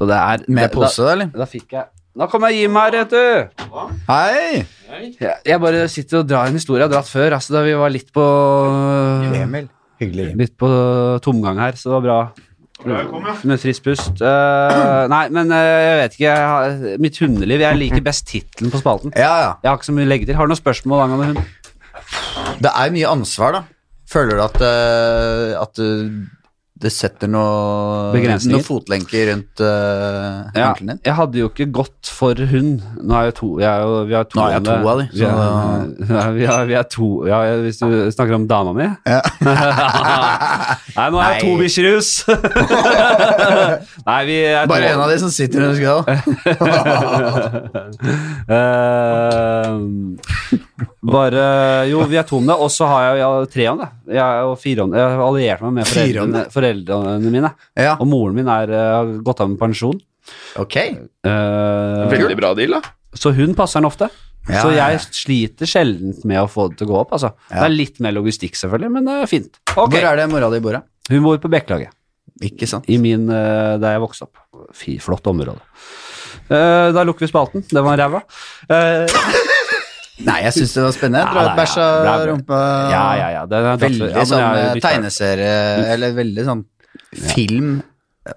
S1: Så det er
S2: Med
S1: det-
S2: pose, eller?
S1: Da, da fikk jeg Nå kommer jeg Jim her, vet du.
S2: Hei!
S1: Jeg, jeg bare sitter og drar en historie jeg har dratt før, altså da vi var litt på
S2: Mm. Emil. Hyggelig.
S1: Litt på tomgang her, så det var bra.
S3: Der kom jeg.
S1: Med trist pust. Eh, nei, men eh, jeg vet ikke. Jeg har, mitt hundeliv. Jeg liker best tittelen på spalten.
S2: Ja, ja.
S1: Jeg har ikke så mye å legge til. Har du noen spørsmål angående hund?
S2: Det er mye ansvar, da. Føler du at, eh, at eh, det setter noe,
S1: Begrensninger?
S2: noen fotlenker rundt uh,
S1: Ja,
S2: ankelen din?
S1: jeg hadde jo ikke gått for hund. Nå er jo to, jeg er jo, vi er to,
S2: Nå er jeg to av de, så-
S1: Vi er, ja, vi er, vi er to ja, Hvis du snakker om dama mi? Nei, nå er jeg to
S2: Nei.
S1: bikkjer i hus! Nei, vi er
S2: Bare en av de som sitter under skallet?
S1: Eh, bare Jo, vi er to om det. Og så har jeg jo ja, tre om det. Jeg er jo fire om det. Jeg har alliert meg med
S2: Fire om
S1: foreldrene, foreldrene mine.
S2: Ja,
S1: Og moren min er, eh, har gått av med pensjon.
S2: ok.
S1: Eh,
S3: Veldig bra deal, da.
S1: Så hun passer den ofte.
S2: Ja,
S1: så
S2: ja, ja.
S1: jeg sliter sjelden med å få det til å gå opp. Altså. Det er litt mer logistikk, selvfølgelig, men det er fint.
S2: Hvor er det mora di bor, da?
S1: Hun bor på Bekkelaget,
S2: Ikke sant?
S1: i min, eh, der jeg vokste opp. Fy, flott område. Eh, da lukker vi spalten. Det var ræva. Eh,
S2: Nei, jeg syns det var spennende. Jeg
S1: Ja,
S2: drar
S1: ja,
S2: ut bæsja,
S1: ja, det er bra.
S2: rumpa
S1: ja, ja, ja. Det er
S2: Veldig
S1: ja, men jeg
S2: sånn
S1: er jo Mm.
S2: eh,
S1: litt-
S2: tegneserie, eller veldig sånn film.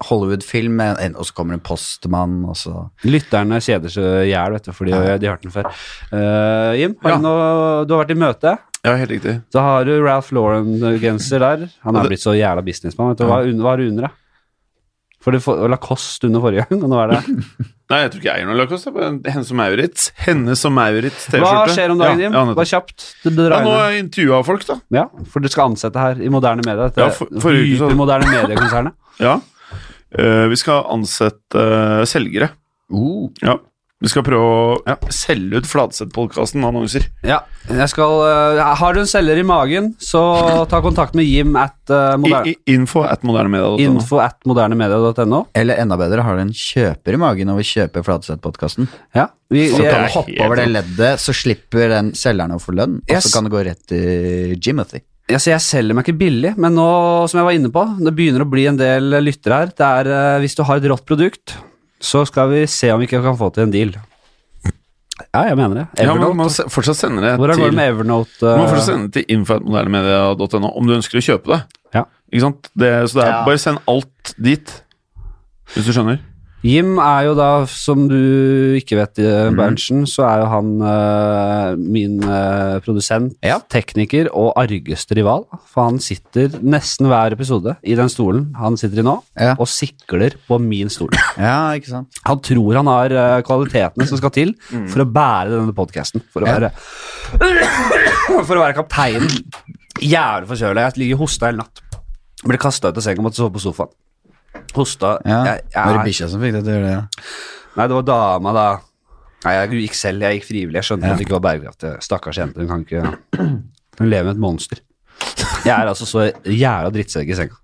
S2: Hollywood-film, med en- og så kommer en postmann, og så
S1: Lytterne kjeder seg i hjel, vet du, fordi de har hørt den før. Eh, Jim, har
S3: Ja.
S1: du, noe, du har vært i møte.
S3: Ja, helt riktig.
S1: Så har du Ralph Lauren-genser der. Han er blitt så jævla businessmann. Vet du. Hva, er un- hva er det under, da? For det for, Lacoste under forrige gang, og nå er det
S3: Nei, jeg tror ikke jeg eier noe Lacoste. det er bare Henne som Maurits. Henne som Maurits T-skjorte.
S1: Hva skjer om dagen, Jim?
S3: Ja, ja,
S1: Bare
S3: nettopp.
S1: kjapt. Det drar
S3: ja, nå
S1: inn.
S3: har jeg intervjua folk, da.
S1: ja, for du skal ansette her i moderne media. Dette
S3: Ja, for- forrige uke så-
S1: hypermoderne mediekonsernet.
S3: Ja. Eh, vi skal ansette eh, selgere.
S2: Oh.
S3: Ja. Vi skal prøve å selge ut Fladseth-podkasten med annonser.
S1: Ja, jeg skal, eh, har du en selger i magen, så ta kontakt med Jim at eh,
S3: I,
S1: moderne,
S3: i, info at modernemedia.no.
S1: info at modernemedia.no.
S2: Eller enda bedre, har du en kjøper i magen når vi kjøper Fladseth-podkasten?
S1: Ja, vi,
S2: Så
S1: vi,
S2: kan
S3: er
S2: du hoppe
S3: helt
S2: over det leddet, så slipper den selgeren å få lønn, og
S1: Yes.
S2: så kan det gå rett til Jimothy.
S1: Ja, så jeg selger meg ikke billig, men nå, som jeg var inne på, det begynner å bli en del lyttere her. Det er, eh, hvis du har et rått produkt, så skal vi se om vi ikke kan få til en deal. Ja, jeg mener det.
S3: Ja, men
S1: Evernote.
S3: du må se- fortsatt sende det
S1: Hvordan går
S3: til
S1: det med Evernote?
S3: Du må
S1: eh,
S3: fortsatt sende det til info.modernemedia.no om du ønsker å kjøpe det.
S1: Ja.
S3: Ikke sant? Det, så det er,
S2: Ja.
S3: bare send alt dit, hvis du skjønner.
S1: Jim er jo da, som du ikke vet,
S2: Mhm.
S1: eh, Berntsen, så er jo han eh, min eh, produsent,
S2: Ja.
S1: tekniker og argeste rival. For han sitter nesten hver episode i den stolen han sitter i nå,
S2: Ja.
S1: og sikler på min stol.
S2: Ja, ikke sant?
S1: Han tror han har eh, kvalitetene som skal til
S2: Mhm.
S1: for å bære denne podkasten. For, å være- for å være kapteinen. Jævlig forkjøla. Jeg ligger og hosta hele natt. Ble kasta ut av senga, måtte sove på sofaen. Hosta
S2: Ja.
S1: jeg, jeg,
S2: Var det bikkja som fikk deg til å gjøre det?
S1: Nei, det var dama da. Nei, jeg gikk selv, jeg gikk frivillig. Jeg skjønte at det ikke var bærekraftig. Stakkars jente, hun kan ikke Hun lever med et monster. Jeg er altså så jævla drittsekk i senga.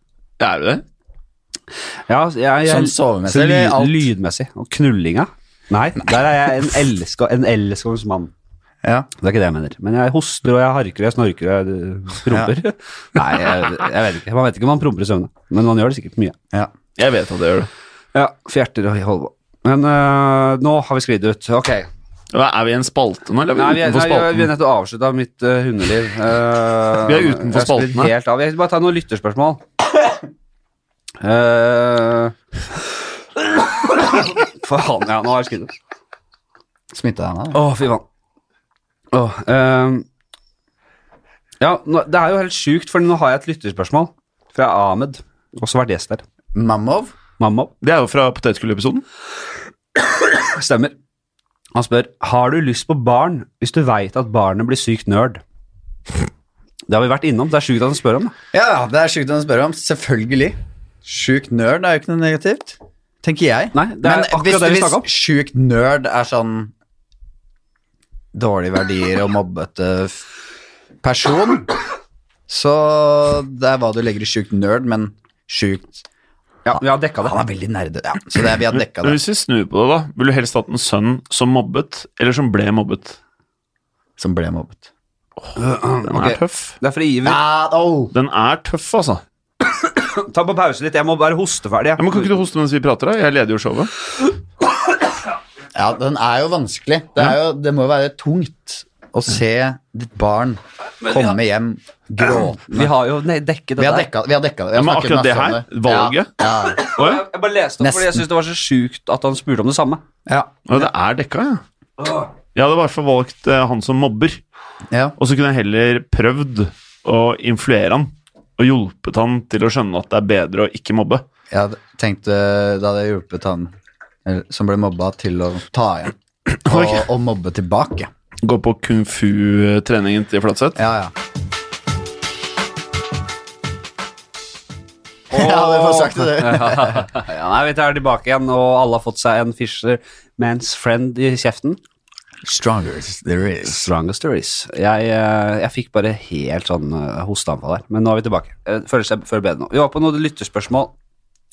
S3: Er du det?
S1: Ja, jeg, jeg,
S2: Sånn sovemessig,
S1: så
S2: eller alt?
S1: Lydmessig. Og knullinga. Nei, der er jeg en elska- en elskens mann.
S2: Ja.
S1: Det er ikke det jeg mener. Men jeg hoster og jeg harker og jeg snorker og jeg øh, promper. Nei, jeg, jeg vet ikke. Man vet ikke om man promper i søvne, men man gjør det sikkert mye.
S2: ja.
S3: Jeg vet at det gjør det.
S1: Ja, fjerter og holder på. Men øh, nå har vi sklidd ut. Ok.
S3: Hva, Er vi i en spalte nå, eller
S1: Nei,
S3: er
S1: vi
S3: vi
S1: er,
S3: utenfor
S1: nei, vi er-
S3: spalten?
S1: vi er nettopp avslutta mitt øh, hundeliv. Eh,
S3: Vi er
S1: jeg
S3: utenfor
S1: spiller
S3: spalten her.
S1: Helt av. Jeg vil bare ta noen lytterspørsmål. Eh, faen, ja, nå har jeg skrevet.
S2: Smitta henne? da.
S1: Å, fy faen. Åh, ehm. ja, nå, det er jo helt sjukt, for nå har jeg et lytterspørsmål fra Ahmed. Også vært gjest der.
S2: Mamov?
S1: Mamma
S3: Det er jo fra potetgullepisoden.
S1: stemmer. Han spør har du lyst på barn hvis du veit at barnet blir sykt nerd. Det har vi vært innom. Det er sjukt at han spør om det.
S2: Ja, ja, det er sjukt å spørre om. Selvfølgelig. Sjuk nerd er jo ikke noe negativt, tenker jeg.
S1: Nei, det er akkurat
S2: hvis,
S1: det vi snakket om.
S2: hvis sjuk nerd er sånn dårlige verdier og mobbete f- person, så det er hva du legger i sjuk nerd, men sjukt
S1: Ja, vi har dekka det.
S2: Han er veldig nerde, ja. Så det er, vi har dekka
S3: Men
S2: det.
S3: hvis vi snur på det, da, vil du helst hatt en sønn som mobbet, eller som ble mobbet?
S2: Som ble mobbet.
S3: Den
S1: Ok.
S3: er tøff.
S1: Det er fra Iver.
S2: Ah, oh.
S3: Den er tøff, altså.
S1: Ta på pause litt. Jeg må bare hoste ferdig. jeg.
S3: Ja, men kan ikke du hoste mens vi prater? da? Jeg leder jo showet.
S2: Ja, den er jo vanskelig. Det, er jo, det må jo være tungt å se ditt barn komme hjem gråtende.
S1: Vi har jo ne- dekket
S2: Vi
S1: det
S2: har
S1: der.
S2: dekka, vi har dekka det. Vi har
S3: Ja, men
S2: snakket
S3: akkurat det
S2: masse om
S3: her,
S2: det.
S3: valget?
S2: Ja, ja,
S3: Å ja.
S1: Jeg, jeg bare leste opp fordi jeg
S2: Nesten.
S1: syntes det var så sjukt at han spurte om det samme.
S2: ja,
S3: Ja, det er dekka, ja. Jeg hadde i hvert fall valgt eh, han som mobber,
S2: ja.
S3: og så kunne jeg heller prøvd å influere han og hjulpet han til å skjønne at det er bedre å ikke mobbe.
S2: Jeg hadde- tenkte da hadde jeg hjulpet han eh, som ble mobba, til å ta igjen. Og,
S3: Ok.
S2: og mobbe tilbake.
S3: Gå på kung fu-treningen til Flatseth.
S2: Ja, ja. Ja, det var sagt det.
S1: Ja, nei, vi tar tilbake igjen, og alle har fått seg en Fisher Mans Friend i kjeften.
S2: Stronger there is.
S1: Strongest there is. Jeg, eh, jeg fikk bare helt sånn eh, hosteanfall her, men nå er vi tilbake. Eh, Føles jeg føler bedre nå. Vi var på noen lytterspørsmål.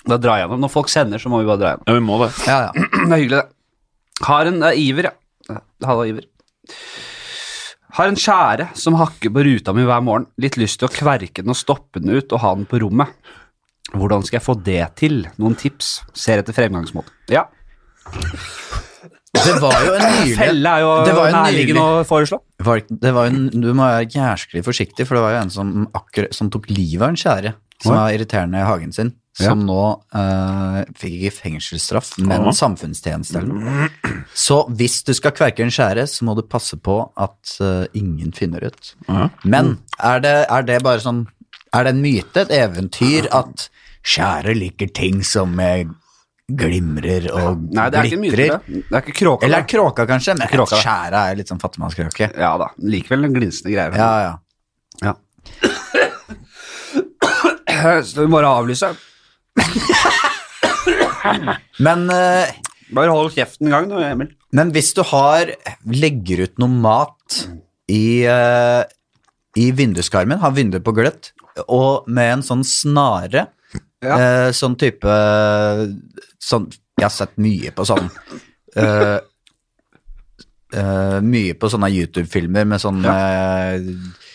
S1: Da drar jeg gjennom. Når folk sender, så må vi bare dra gjennom.
S3: Ja, vi må det.
S2: Ja, ja.
S1: Det er hyggelig, det. Har en det er Iver, ja. Eh, Halla, Iver. Har en kjære som hakker på ruta mi hver morgen. Litt lyst til å kverke den og stoppe den ut og ha den på rommet. Hvordan skal jeg få det til? Noen tips? Ser etter fremgangsmåte. Ja.
S2: Det var jo en nylig
S1: Felle er jo
S2: Det var jo
S1: nærliggende å foreslå.
S2: var det ikke- det var jo en, Du må være jæsklig forsiktig, for det var jo en som, akkurat, som tok livet av en kjære som
S1: Oi.
S2: var irriterende i hagen sin, som nå eh, fikk ikke fengselsstraff, men
S3: Ja.
S2: samfunnstjeneste eller noe. Så hvis du skal kverke en kjære, så må du passe på at eh, ingen finner ut.
S3: Ja.
S2: Men er det, er det bare sånn Er det en myte, et eventyr, at kjære liker ting som eh, glimrer og
S1: Nei, det er ikke mye til
S2: glitrer?
S1: det. Det er ikke kråka.
S2: Eller er
S1: det.
S2: kråka, kanskje? Men
S1: Kråka.
S2: skjæra er jo litt sånn fattigmannskrøke.
S1: Ja da. Likevel en glinsende greier.
S2: Ja, ja.
S1: Så vi bare avlyse.
S2: Men, eh,
S1: Bare hold kjeften en gang, nå, Emil.
S2: men hvis du har Legger ut noe mat i, eh, i vinduskarmen, har vinduet på gløtt, og med en sånn snare
S1: Ja.
S2: eh, Sånn type sånn, Jeg har sett mye på sånn eh, eh, Mye på sånne YouTube-filmer med sånne eh,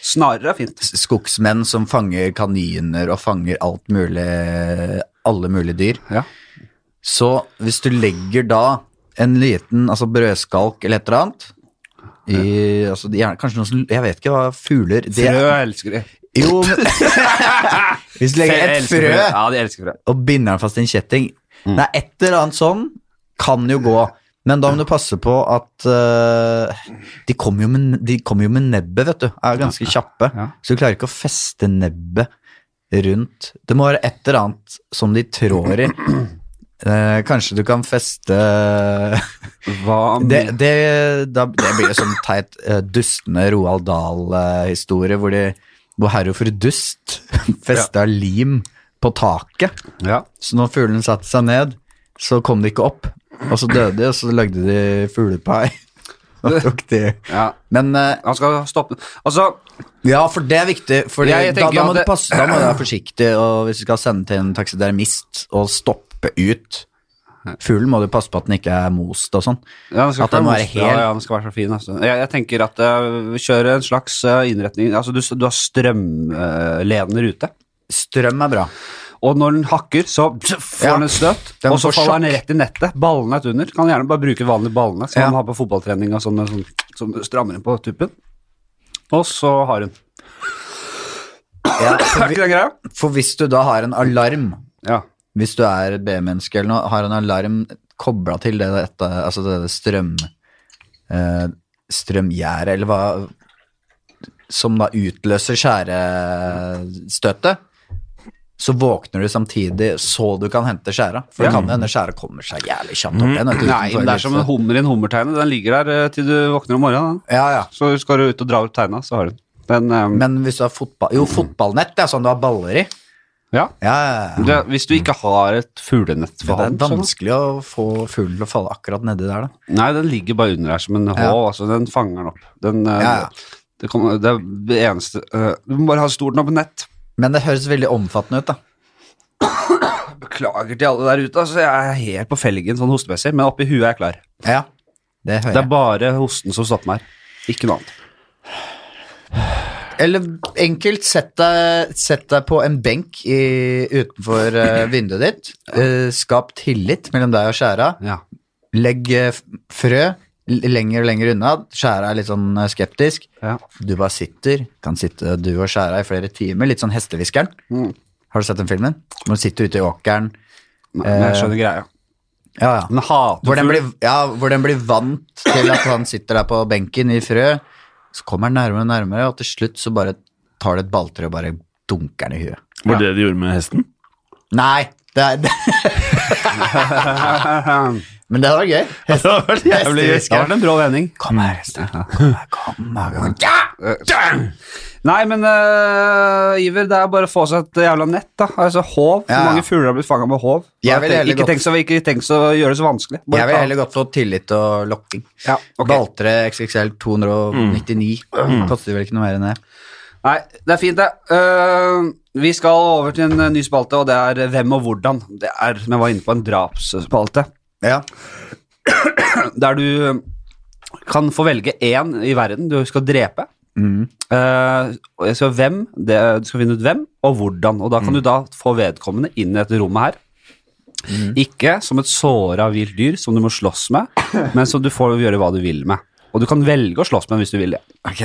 S1: Snarere er fint.
S2: skogsmenn som fanger kaniner og fanger alt mulig, alle mulige dyr.
S1: Ja.
S2: Så hvis du legger da en liten altså brødskalk eller et eller annet i, altså, gjerne, Kanskje noe som Jeg vet ikke hva fugler det,
S1: Frø elsker de.
S2: Jo, men Hvis du legger
S1: Jeg
S2: et
S1: elsker
S2: frø
S1: Ja, de elsker frø.
S2: og binder den fast i en kjetting
S1: Mm.
S2: Nei, et eller annet sånn kan jo gå. Men da må du passe på at eh, de, kommer jo med, de kommer jo med nebbet, vet du. Er ganske kjappe.
S1: Ja.
S2: Så du klarer ikke å feste nebbet rundt. Det må være et eller annet som de trår i. Eh, kanskje du kan feste
S1: Hva
S2: det, det, da, det blir jo sånn teit eh, dustende Roald Dahl-historie hvor, de- hvor herr og fru Dust festa lim på taket.
S1: Ja.
S2: Så når fuglen satte seg ned, så kom de ikke opp. Og så døde de, og så lagde de fuglepai. Og tok de.
S1: ja.
S2: Men eh,
S1: Han skal stoppe Altså,
S2: ja, for det er viktig. For
S1: Ja, jeg
S2: da,
S1: tenker
S2: da,
S1: at
S2: må du
S1: det-
S2: passe, da må du være forsiktig og hvis du skal sende til en taksidermist og stoppe ut fuglen, må du passe på at den ikke er most og sånn.
S1: ja, han skal
S2: At den
S1: ikke
S2: må
S1: være
S2: være
S1: monster,
S2: hel.
S1: Ja, ja, han skal være så fin. Altså. Jeg, jeg tenker at uh, kjør en slags eh, innretning Altså, du, du har strømledende rute.
S2: Strøm er bra.
S1: Og når den hakker, så får
S2: Ja.
S1: den et støt,
S2: Den
S1: og så
S2: får
S1: faller
S2: sjokk.
S1: den rett i nettet. Ballene er under. Kan gjerne bare bruke vanlige ballene som
S2: Ja.
S1: man har på fotballtrening og sånn, med sånn som du strammer inn på tuppen. Og så har hun.
S2: Ja,
S1: Er
S2: for,
S1: ikke det greia?
S2: vi- for hvis du da har en alarm,
S1: Ja.
S2: hvis du er et B-menneske eller noe, har en alarm kobla til det, dette, altså det det strøm, eh, strømgjæret, eller hva Som da utløser skjærestøtet. Så våkner du samtidig så du kan hente skjæra. For det
S1: Ja. Mm.
S2: kan hende skjæra kommer seg jævlig kjapt opp igjen. vet du,
S1: Nei,
S2: utenfor
S1: men det er som en
S2: huset.
S1: hummer i en hummerteine. Den ligger der eh, til du våkner om morgenen. da.
S2: Ja, ja.
S1: Så skal du ut og dra ut teina, så har du den. Den, eh,
S2: Men hvis du har fotball... Jo, fotballnett, det er sånn du har baller i.
S1: ja.
S2: Ja, ja, ja.
S1: Det, sånn. hvis du ikke har et fuglenett
S2: Det
S1: for
S2: er
S1: hånd så-
S2: vanskelig å få fuglen til å falle akkurat nedi der, da.
S1: Nei, den ligger bare under her som en håv. Altså, den fanger den opp. Den, eh,
S2: Ja, ja.
S1: Det, kommer- det er det eneste eh, Du må bare ha stort nok nett.
S2: Men det høres veldig omfattende ut, da.
S1: Beklager til alle der ute. Altså, jeg er helt på felgen sånn hostemessig, men oppi huet er jeg klar.
S2: Ja,
S1: Det
S2: det hører jeg.
S1: er bare hosten som stopper meg her. Ikke noe annet.
S2: Eller enkelt, sett deg, sett deg på en benk i, utenfor eh, vinduet ditt. Eh, skap tillit mellom deg og skjæra.
S1: Ja.
S2: Legg eh, f- frø l- lenger og lenger unna. Skjæra er litt sånn eh, skeptisk.
S1: Ja.
S2: Du bare sitter, kan sitte du og skjæra i flere timer, litt sånn hestehviskeren. Har du sett den filmen? Når du sitter ute i åkeren.
S1: Men jeg skjønner greia.
S2: Ja, ja.
S1: Den hater
S2: Hvor den,
S1: fugl.
S2: Eh, blir, ja, hvor den blir vant til at han sitter der på benken i frø. Så kommer han nærmere og nærmere, og til slutt så bare tar det et balltre og bare dunker den i huet.
S3: Var det det de gjorde med hesten?
S2: Nei! Det er, det, men det hadde vært gøy.
S3: Det hadde vært jævlig gøy.
S2: Hestehvisker.
S1: Det har vært en brå vending.
S2: Kom her, Esther. Kom her, kom her. Kom her. Ja!
S1: Eh, Nei, men øh, Iver, det er bare å få seg et jævla nett, da. Altså håv.
S2: Ja,
S1: Hvor
S2: ja.
S1: mange fugler har blitt fanga med håv?
S2: Jeg vil
S1: Bare tenk-
S2: heller
S1: ikke,
S2: godt-
S1: tenk så, ikke tenk så å gjøre det så vanskelig. Bare
S2: Jeg ville
S1: ta-
S2: heller gått for tillit og lokking.
S1: Ja, ok.
S2: Balltre XXL 299. Koster vel ikke noe mer enn det.
S1: Nei, det er fint, det. Øh, vi skal over til en øh, ny spalte, og det er Hvem og hvordan. Det er, Vi var inne på en drapsspalte,
S2: Ja.
S1: der du øh, kan få velge én i verden du skal drepe.
S2: Mm.
S1: Eh, og jeg skal, hvem, det, du skal finne ut hvem og hvordan, og da
S2: Mm.
S1: kan du da få vedkommende inn i dette rommet her.
S2: Mm.
S1: Ikke som et såra vilt dyr som du må slåss med, men som du får gjøre hva du vil med. Og du kan velge å slåss med hvis du vil det.
S2: Ok.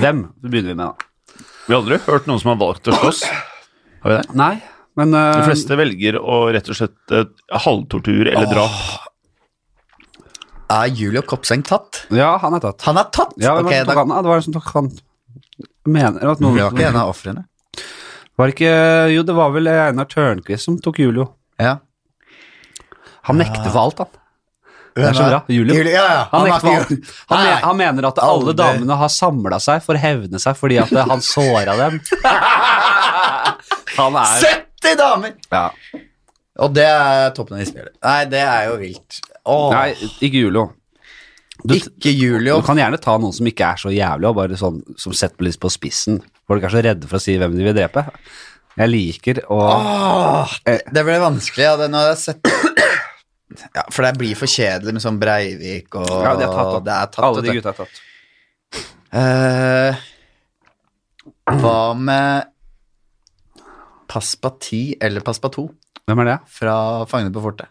S1: Hvem begynner vi med, da?
S3: Vi har aldri hørt noen som har valgt å slåss. Har vi det?
S1: Nei, men eh,
S3: De fleste velger å rett og slett eh, halvtortur eller drap.
S2: Er Julio Kopseng tatt?
S1: Ja, han er tatt.
S2: Han er tatt!
S1: Ja, hvem var det
S2: Ok,
S1: som tok
S2: da
S1: han? Ja, det var en som tok han Mener at
S2: ble
S1: noen
S2: jo ikke en av ofrene.
S1: Var det ikke Jo, det var vel Einar Tørnquist som tok Julio.
S2: Ja.
S1: Han nekter for alt, han. Det er så bra. Julio.
S2: Julio, ja, ja.
S1: Han,
S2: har
S1: nekter
S2: ikke-
S1: for- han,
S2: Nei.
S1: me- han mener at alle
S2: Aldri.
S1: damene har samla seg for å hevne seg fordi at eh, han såra dem. han er
S2: 70 damer!
S1: ja.
S2: Og det er toppen av isfjellet. Nei, det er jo vilt. Åh.
S1: Nei, ikke Julio. Du,
S2: ikke
S1: du
S2: Julio.
S1: kan gjerne ta noen som ikke er så jævlig, og bare sånn som setter litt på spissen. Folk er så redde for å si hvem de vil drepe. Jeg liker å
S2: Åh,
S1: Eh.
S2: det ble vanskelig. Ja, det, nå har jeg sett ja, For det blir for kjedelig med sånn Breivik og
S1: Ja, de er tatt, da.
S2: det er tatt,
S1: Alle
S2: vet
S1: de
S2: du.
S1: gutta er tatt.
S2: Eh, hva med Paspa 10 eller Paspa 2
S1: Hvem er det?
S2: fra Fangene på fortet?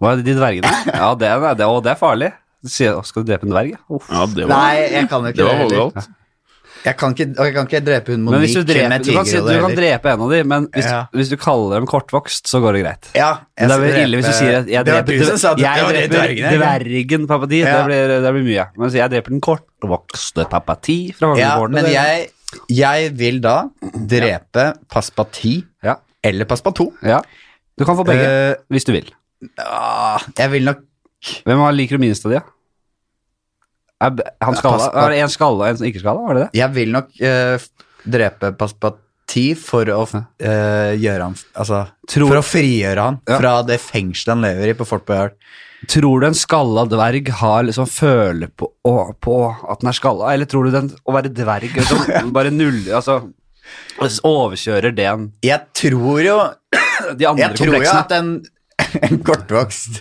S1: Hva er det, de dvergene? Ja, det er, det, og det er farlig. Du sier, «Å, skal du drepe en dverg? ja?» Uff.
S3: Ja, det var,
S2: Nei, jeg kan jo
S3: det
S2: ikke det
S3: var
S2: heller.
S3: vågalt.
S2: Jeg kan ikke, og jeg kan ikke drepe hun
S1: Men hvis du,
S2: Monique
S1: dreper,
S2: med
S1: du, kan, si, du kan
S2: tigerhode heller.
S1: drepe en av dem, men hvis,
S2: Ja.
S1: hvis du kaller dem kortvokst, så går det greit.
S2: Ja,
S1: Men
S2: jeg
S1: det
S2: skal
S1: er vel ille hvis du
S2: drepe-
S1: sier at jeg
S2: Det var
S1: dreper,
S2: du som sa at det
S1: jeg
S2: var de
S1: dreper
S2: dvergene, ikke?
S1: dvergen papati.
S2: Ja.
S1: Det, blir, det blir mye. Men hvis jeg dreper den kortvokste papati fra
S2: Ja,
S1: Vangegården
S2: men jeg, jeg vil da drepe Paspa 10
S1: ja,
S2: eller Paspa 2.
S1: ja. Du kan få begge,
S2: Eh,
S1: hvis du vil.
S2: ah, jeg vil nok
S1: Hvem har liker du minst av de? da? Er b- Han skalla?
S2: pass på.
S1: Er det en skalla og en som ikke skalla? Var det det?
S2: Jeg vil nok eh, f- drepe Paspa 10 for å f- eh, gjøre han f- Altså
S1: Tror-
S2: for å frigjøre han
S1: Ja.
S2: fra det fengselet han lever i på Fort Boyard.
S1: Tror du en skalla dverg har liksom føler på, å, på at den er skalla, eller tror du den å være dverg liksom, bare nuller Altså overkjører det en
S2: Jeg tror jo
S1: De andre
S2: Jeg tror jo
S1: kompleksene.
S2: at en, en kortvokst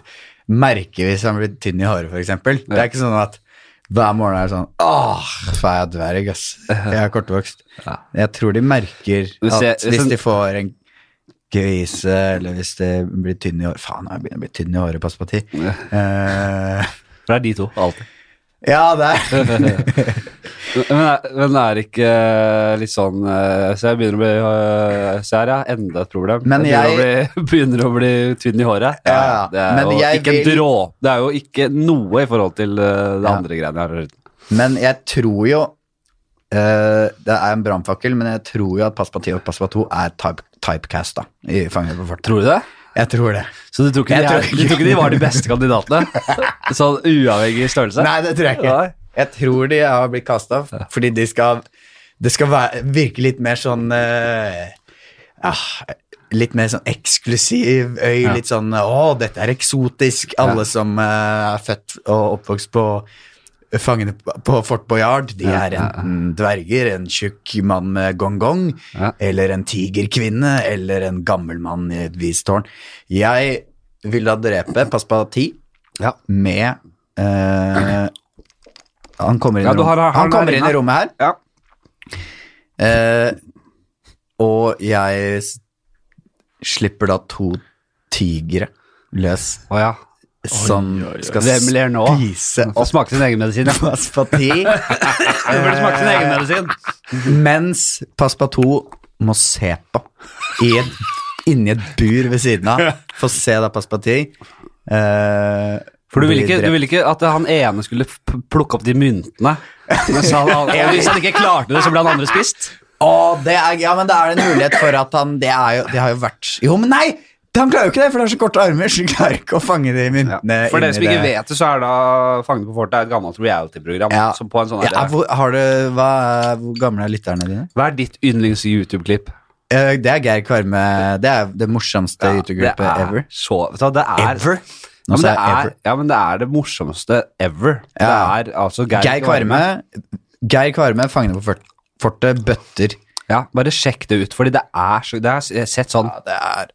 S2: merker hvis han blir tynn i håret, f.eks. Det
S1: Ja.
S2: er ikke sånn at hver morgen er det sånn Åh, så er jeg dverg, ass. Jeg er kortvokst.
S1: Ja.
S2: Jeg tror de merker
S1: Du ser-
S2: at hvis
S1: sånn-
S2: de får en grise, eller hvis de blir tynne i håret Faen, jeg begynner å bli tynn i håret, pass på tid.
S1: Ja.
S2: Eh,
S1: Det er de to, alltid.
S2: ja, det er
S1: men, er- men det er ikke eh, litt sånn eh, Så jeg begynner å bli eh, Så her er enda et problem.
S2: Men
S1: begynner, å bli, begynner å bli tynn i håret.
S2: Ja, ja.
S1: Det er
S2: Men
S1: jo
S2: jeg
S1: ikke en
S2: vil-
S1: drå. Det er jo ikke noe i forhold til eh, det
S2: Ja.
S1: andre greiene jeg har hørt.
S2: Men jeg tror jo eh, Det er en brannfakkel, men jeg tror jo at pass på tid og pass på to er type, typecast, da, i Fanget på fortet.
S1: Tror du det?
S2: Jeg tror det.
S1: Så du tror ikke,
S2: Jeg
S1: de,
S2: tror
S1: er,
S2: ikke-
S1: du tror ikke de var de beste kandidatene? sånn uavhengig størrelse?
S2: Nei, det tror jeg ikke.
S1: Nei.
S2: Jeg tror de har blitt kasta fordi de skal, det skal være, virke litt mer sånn eh, ah, Litt mer sånn eksklusiv øy.
S1: Ja.
S2: Litt sånn 'Å, dette er eksotisk'. Alle som eh, er født og oppvokst på Fangene på- på Fort Boyard de
S1: Ja,
S2: er
S1: ja, ja.
S2: enten dverger, en tjukk mann med gongong,
S1: Ja.
S2: eller en tigerkvinne, eller en gammel mann i et vist tårn. Jeg vil da drepe Paspati
S1: Ja.
S2: med eh, Han kommer inn,
S1: Ja,
S2: i
S1: du
S2: rom-
S1: har- har
S2: han
S1: den
S2: kommer
S1: der
S2: inn i
S1: inne.
S2: rommet her.
S1: Ja.
S2: eh, og jeg s- slipper da to tigre løs
S1: Å ja.
S2: som
S3: oi, oi.
S2: skal ler nå? spise
S1: Og smake sin egen medisin. ja.
S2: Paspati
S1: Du burde smake sin egen medisin.
S2: mens Passepartout må se på i et, inni et bur ved siden av. Få se da Passeparti. eh,
S1: For du ville
S2: bli
S1: ikke, du
S2: drept.
S1: ville ikke at han ene skulle p- plukke opp de myntene? Mens han, han, hvis han ikke klarte det, så ble han andre spist?
S2: Å, det er, ja, men da er det en mulighet for at han Det, er jo, det har jo vært Jo, men nei! det- Han klarer jo ikke det, for han har så korte armer. Så han klarer ikke å fange de myntene
S1: For dere
S2: inni
S1: som ikke
S2: det.
S1: vet det, så er da Fangene på fortet er et gammelt reality-program.
S2: Ja.
S1: som på en sånn her-
S2: Ja, hvor, har du, hva, er- hvor gamle er lytterne dine?
S1: Hva er ditt yndlings-YouTube-klipp?
S2: Eh, Det er Geir Kvarme. Det er det morsomste
S1: Ja,
S2: YouTube-gruppe
S1: det er
S2: ever.
S1: Så, vet du hva, det er,
S2: Ever?
S1: Ja,
S2: Nå
S1: men
S2: sa
S1: det
S2: jeg
S1: er,
S2: ever.
S1: ja, men det er det morsomste ever.
S2: Ja.
S1: Det er altså Geir,
S2: Geir Kvarme, Geir Kvarme fangene på fort- fortet, bøtter.
S1: Ja, bare sjekk det ut, fordi det er så Det har jeg sett sånn.
S2: Ja, det er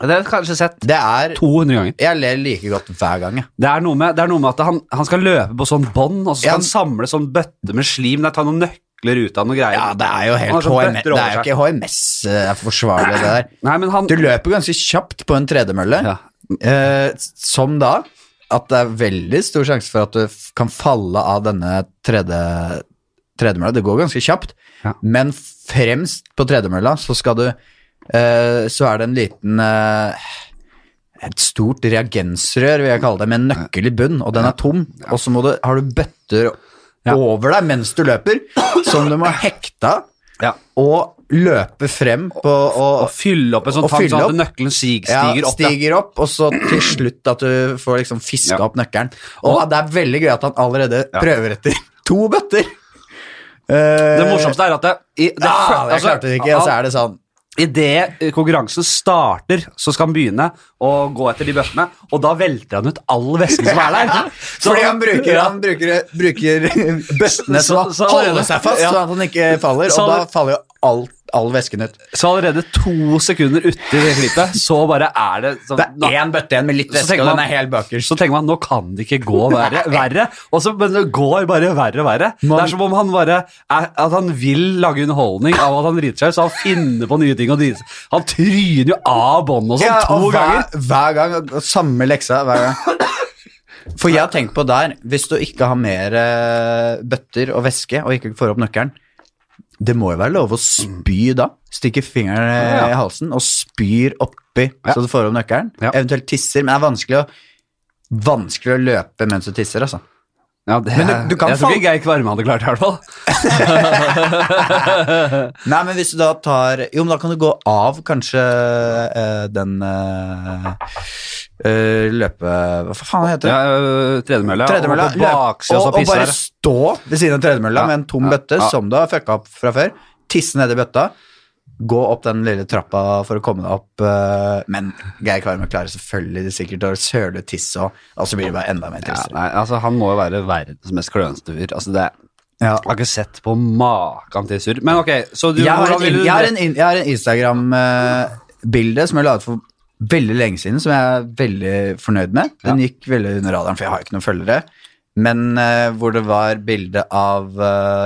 S1: Det har jeg kanskje sett
S2: Det er
S1: 200 ganger.
S2: Jeg ler like godt hver gang, jeg.
S1: Det er noe med, det er noe med at han, han skal løpe på sånn bånd, og så skal
S2: Ja.
S1: han samle sånn bøtte med slim. Nei, ta noen nøkler ut av noen greier.
S2: Ja, det er jo
S1: Han har
S2: helt
S1: sånn
S2: HMS.
S1: bøtter
S2: Det
S1: over
S2: er jo
S1: seg.
S2: ikke HMS eh, forsvarlig, det der.
S1: Nei, men han
S2: Du løper ganske kjapt på en tredemølle,
S1: Ja.
S2: eh, som da at det er veldig stor sjanse for at du f- kan falle av denne tredje tredemølla. Det går ganske kjapt,
S1: Ja.
S2: men fremst på tredemølla så skal du eh, Så er det en liten eh, et stort reagensrør, vil jeg kalle det, med en nøkkel i bunn, og den er tom. Og så må du, har du bøtter
S1: Ja.
S2: over deg mens du løper, som du må hekte av,
S1: Ja.
S2: og løpe frem på og,
S1: Å fylle opp en sånn
S2: Å
S1: tank
S2: fylle
S1: sånn
S2: opp.
S1: at nøkkelen sig, stiger opp. ja.
S2: stiger opp, og så til slutt at du får liksom fiska
S1: Ja.
S2: opp nøkkelen. Og det er veldig gøy at han allerede prøver etter to bøtter.
S1: Det morsomste er at det, i, det,
S2: ja,
S1: fø-
S2: Ah, jeg
S1: altså,
S2: klarte det ikke, og så
S1: han-
S2: er det sånn
S1: Idet eh, konkurransen starter, så skal han begynne å gå etter de bøttene, og da velter han ut all væsken som er der. Så
S2: Fordi han bruker, han bruker, bruker bøttene som
S1: Så- så allerede-
S2: holder seg fast,
S1: ja.
S2: så at han ikke faller,
S1: Så
S2: og da
S1: alle-
S2: faller jo all, all væsken ut.
S1: Så allerede to sekunder uti det klippet, så bare er det sånn
S2: Det er én bøtte igjen med litt
S1: Så
S2: væske,
S1: tenker
S2: og
S1: man-
S2: den er helt bakerst.
S1: Så tenker man nå kan det ikke gå verre, verre. og så men det går bare verre og verre.
S2: Man-
S1: det er som om han bare er, at han vil lage underholdning av at han driter seg ut, så han finner på nye ting. Og driter. seg- Han tryner jo av båndet og sånn
S2: Ja,
S1: to
S2: og
S1: ganger.
S2: Hver, hver gang, og- og samme leksa hver gang. For jeg har tenkt på der, hvis du ikke har mer eh, bøtter og væske, og ikke får opp nøkkelen, det må jo være lov å spy da. Stikke fingeren eh,
S1: Ja, ja.
S2: i halsen og spyr oppi, så du får opp nøkkelen.
S1: Ja.
S2: Eventuelt tisser, men det er vanskelig å, vanskelig å løpe mens du tisser, altså.
S1: Ja, det,
S2: Men du- du kan
S1: jeg tror
S2: falle-
S1: ikke Geir Kvarme hadde klart det, i hvert fall.
S2: Nei, men hvis du da tar Jo, men da kan du gå av kanskje eh, den eh, eh, løpe... Hva faen heter det?
S1: Ja, øh, tredemølla.
S2: Tredemølla.
S1: Og, baksida,
S2: og,
S1: og,
S2: og bare
S1: der.
S2: stå ved siden av tredemølla
S1: Ja,
S2: med en tom
S1: ja,
S2: bøtte
S1: ja.
S2: som du har fucka opp fra før. Tisse ned i bøtta. Gå opp den lille trappa for å komme deg opp. eh, Men Geir Kvarme klarer selvfølgelig sikkert å søle tiss, og, og så blir det bare enda mer
S1: Ja,
S2: trist.
S1: nei, altså, han må jo være verdens mest klønete fyr. Altså, det Jeg
S2: Ja.
S1: har ikke sett på maken til surr. Men ok, så du
S2: Jeg har
S1: hvordan
S2: en,
S1: vil
S2: in-
S1: du-
S2: jeg har en, in- jeg har en Instagram-bilde som jeg la ut for veldig lenge siden, som jeg er veldig fornøyd med. Den gikk veldig under radaren, for jeg har jo ikke noen følgere. Men eh, hvor det var bilde av eh,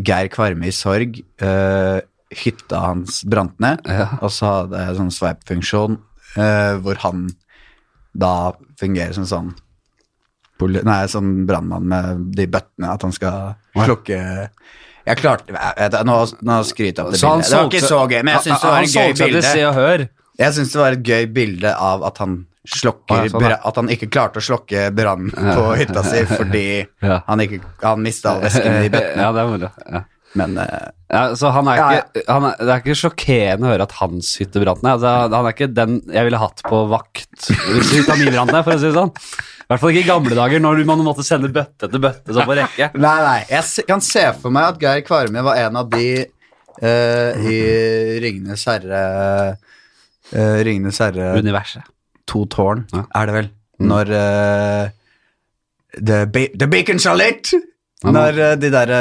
S2: Geir Kvarme i sorg. eh, hytta hans brant ned, og så hadde jeg sånn sveipfunksjon eh, hvor han da fungerer som sånn poli Nei, sånn brannmann med de bøttene, at han skal slukke Jeg klarte jeg, jeg, Nå, nå skryter jeg av det
S1: Så han
S2: bildet. Det var
S1: solgte-
S2: ikke så gøy, men jeg syns det var
S1: Han
S2: et gøy
S1: solgte seg til Se
S2: bilde.
S1: og Hør.
S2: Jeg syns det var et gøy bilde av at han slokker
S1: Å, ja, sånn, ja.
S2: bra- At han ikke klarte å slokke brannen på hytta si fordi
S1: Ja.
S2: han, ikke, han mista all væsken i
S1: Ja,
S2: bøttene.
S1: det er moro. Ja.
S2: Men eh,
S1: Ja, så han er
S2: Ja,
S1: ikke, han er, det er ikke sjokkerende å høre at hans hytte brant ned. Altså, han er ikke den jeg ville hatt på vakt hvis hytta mi brant ned, for å si det sånn. I hvert fall ikke i gamle dager, når du- man måtte sende bøtte etter bøtte sånn på rekke.
S2: Nei, nei, jeg se- kan se for meg at Geir Kvarme var en av de eh, i Ringenes herre uh, Ringenes herre
S1: Universet.
S2: To tårn,
S1: Ja. Mm.
S2: er det vel. Når eh, the, Be the Beacon shall lit!
S1: Ja,
S2: Når eh, de derre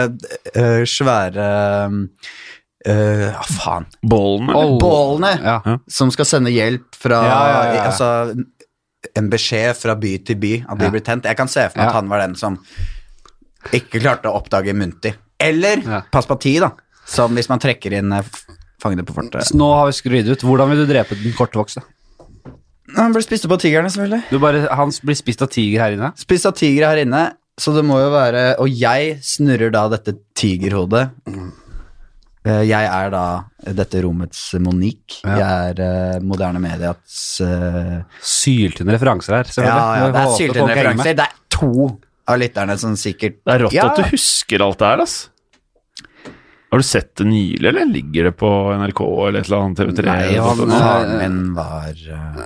S2: eh, svære eh, ah, faen
S3: Bålene? eller?
S1: Oh.
S2: Bålene
S1: Ja.
S2: som skal sende hjelp fra
S1: Ja, ja, ja.
S2: Altså, en beskjed fra by til by at de
S1: Ja.
S2: blir tent. Jeg kan se for meg at
S1: Ja.
S2: han var den som ikke klarte å oppdage Munti. Eller
S1: Ja.
S2: Paspati, da. Som hvis man trekker inn eh, f- fangene på fortet.
S1: Så nå har vi skrudd ut. Hvordan vil du drepe den kortvokste?
S2: Han ble spist opp av tigrene, selvfølgelig.
S1: Du bare, han blir spist av tiger her inne.
S2: Spist av tigre her inne, så det må jo være Og jeg snurrer da dette tigerhodet. Eh, Jeg er da dette rommets Monique. Jeg er eh, moderne medias eh,
S1: Syltynne referanser her.
S2: Ja, ja,
S1: selvfølgelig. Må
S2: det er
S1: håpe folk henger
S2: syltynne
S1: med.
S2: referanser. Det er to av lytterne som sikkert
S3: Det er rått
S2: Ja.
S3: at du husker alt det her, ass. Har du sett det nylig, eller ligger det på NRK eller et eller annet TV3?
S1: Nei,
S3: eller
S1: han-
S3: noe sånt?
S2: Faren min var eh,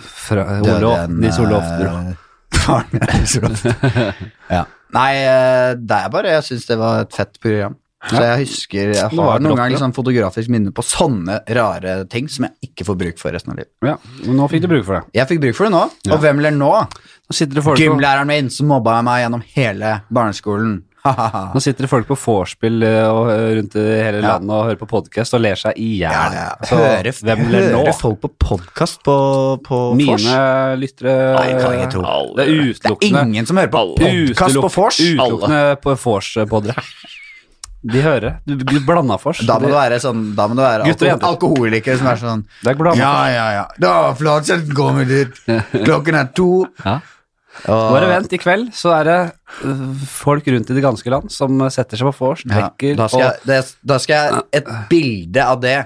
S1: Fra
S2: døde
S1: Olof,
S2: en,
S1: Nils Olof
S2: eh,
S1: Dra.
S2: Faren min er Nils Olof. ja. Nei, eh, det er bare Jeg syns det var et fett program. Så jeg husker Jeg
S1: var
S2: har
S1: et
S2: noen
S1: rått
S2: ganger liksom fotografisk minne på sånne rare ting som jeg ikke får bruk for resten av livet.
S1: Ja, men nå fikk du bruk for det.
S2: Jeg fikk bruk for det nå, og hvem ler nå?
S1: Nå sitter det folk på,
S2: Gymlæreren min som mobba meg gjennom hele barneskolen. Ha-ha-ha.
S1: nå sitter det folk på vorspiel eh, og, eh, rundt i hele landet og hører på podkast og ler seg i hjel. Så
S2: Hører,
S1: hvem ler nå?
S2: hører folk på podkast på, på Fors?
S1: Mine lyttere
S2: Nei, det kan jeg ikke tro.
S1: Det er
S2: Det er
S1: utelukkende
S2: ingen som hører på podkast på
S1: utelukk-
S2: Fors.
S1: Utelukkende på vors-poddere. De hører. Du, du blanda vors.
S2: Da må det være sånn Da må det være
S1: Gutter og
S2: alko alkoholikere som er sånn
S1: Det er blanda
S2: Ja, ja, ja. Da Flatseth kommer dit. Klokken er to.
S1: Ja.
S2: Og-
S1: Bare vent, i kveld så er det øh, folk rundt i det ganske land som setter seg på vors,
S2: Ja,
S1: drikker
S2: da, skal
S1: og
S2: jeg, det, da skal jeg et bilde av det.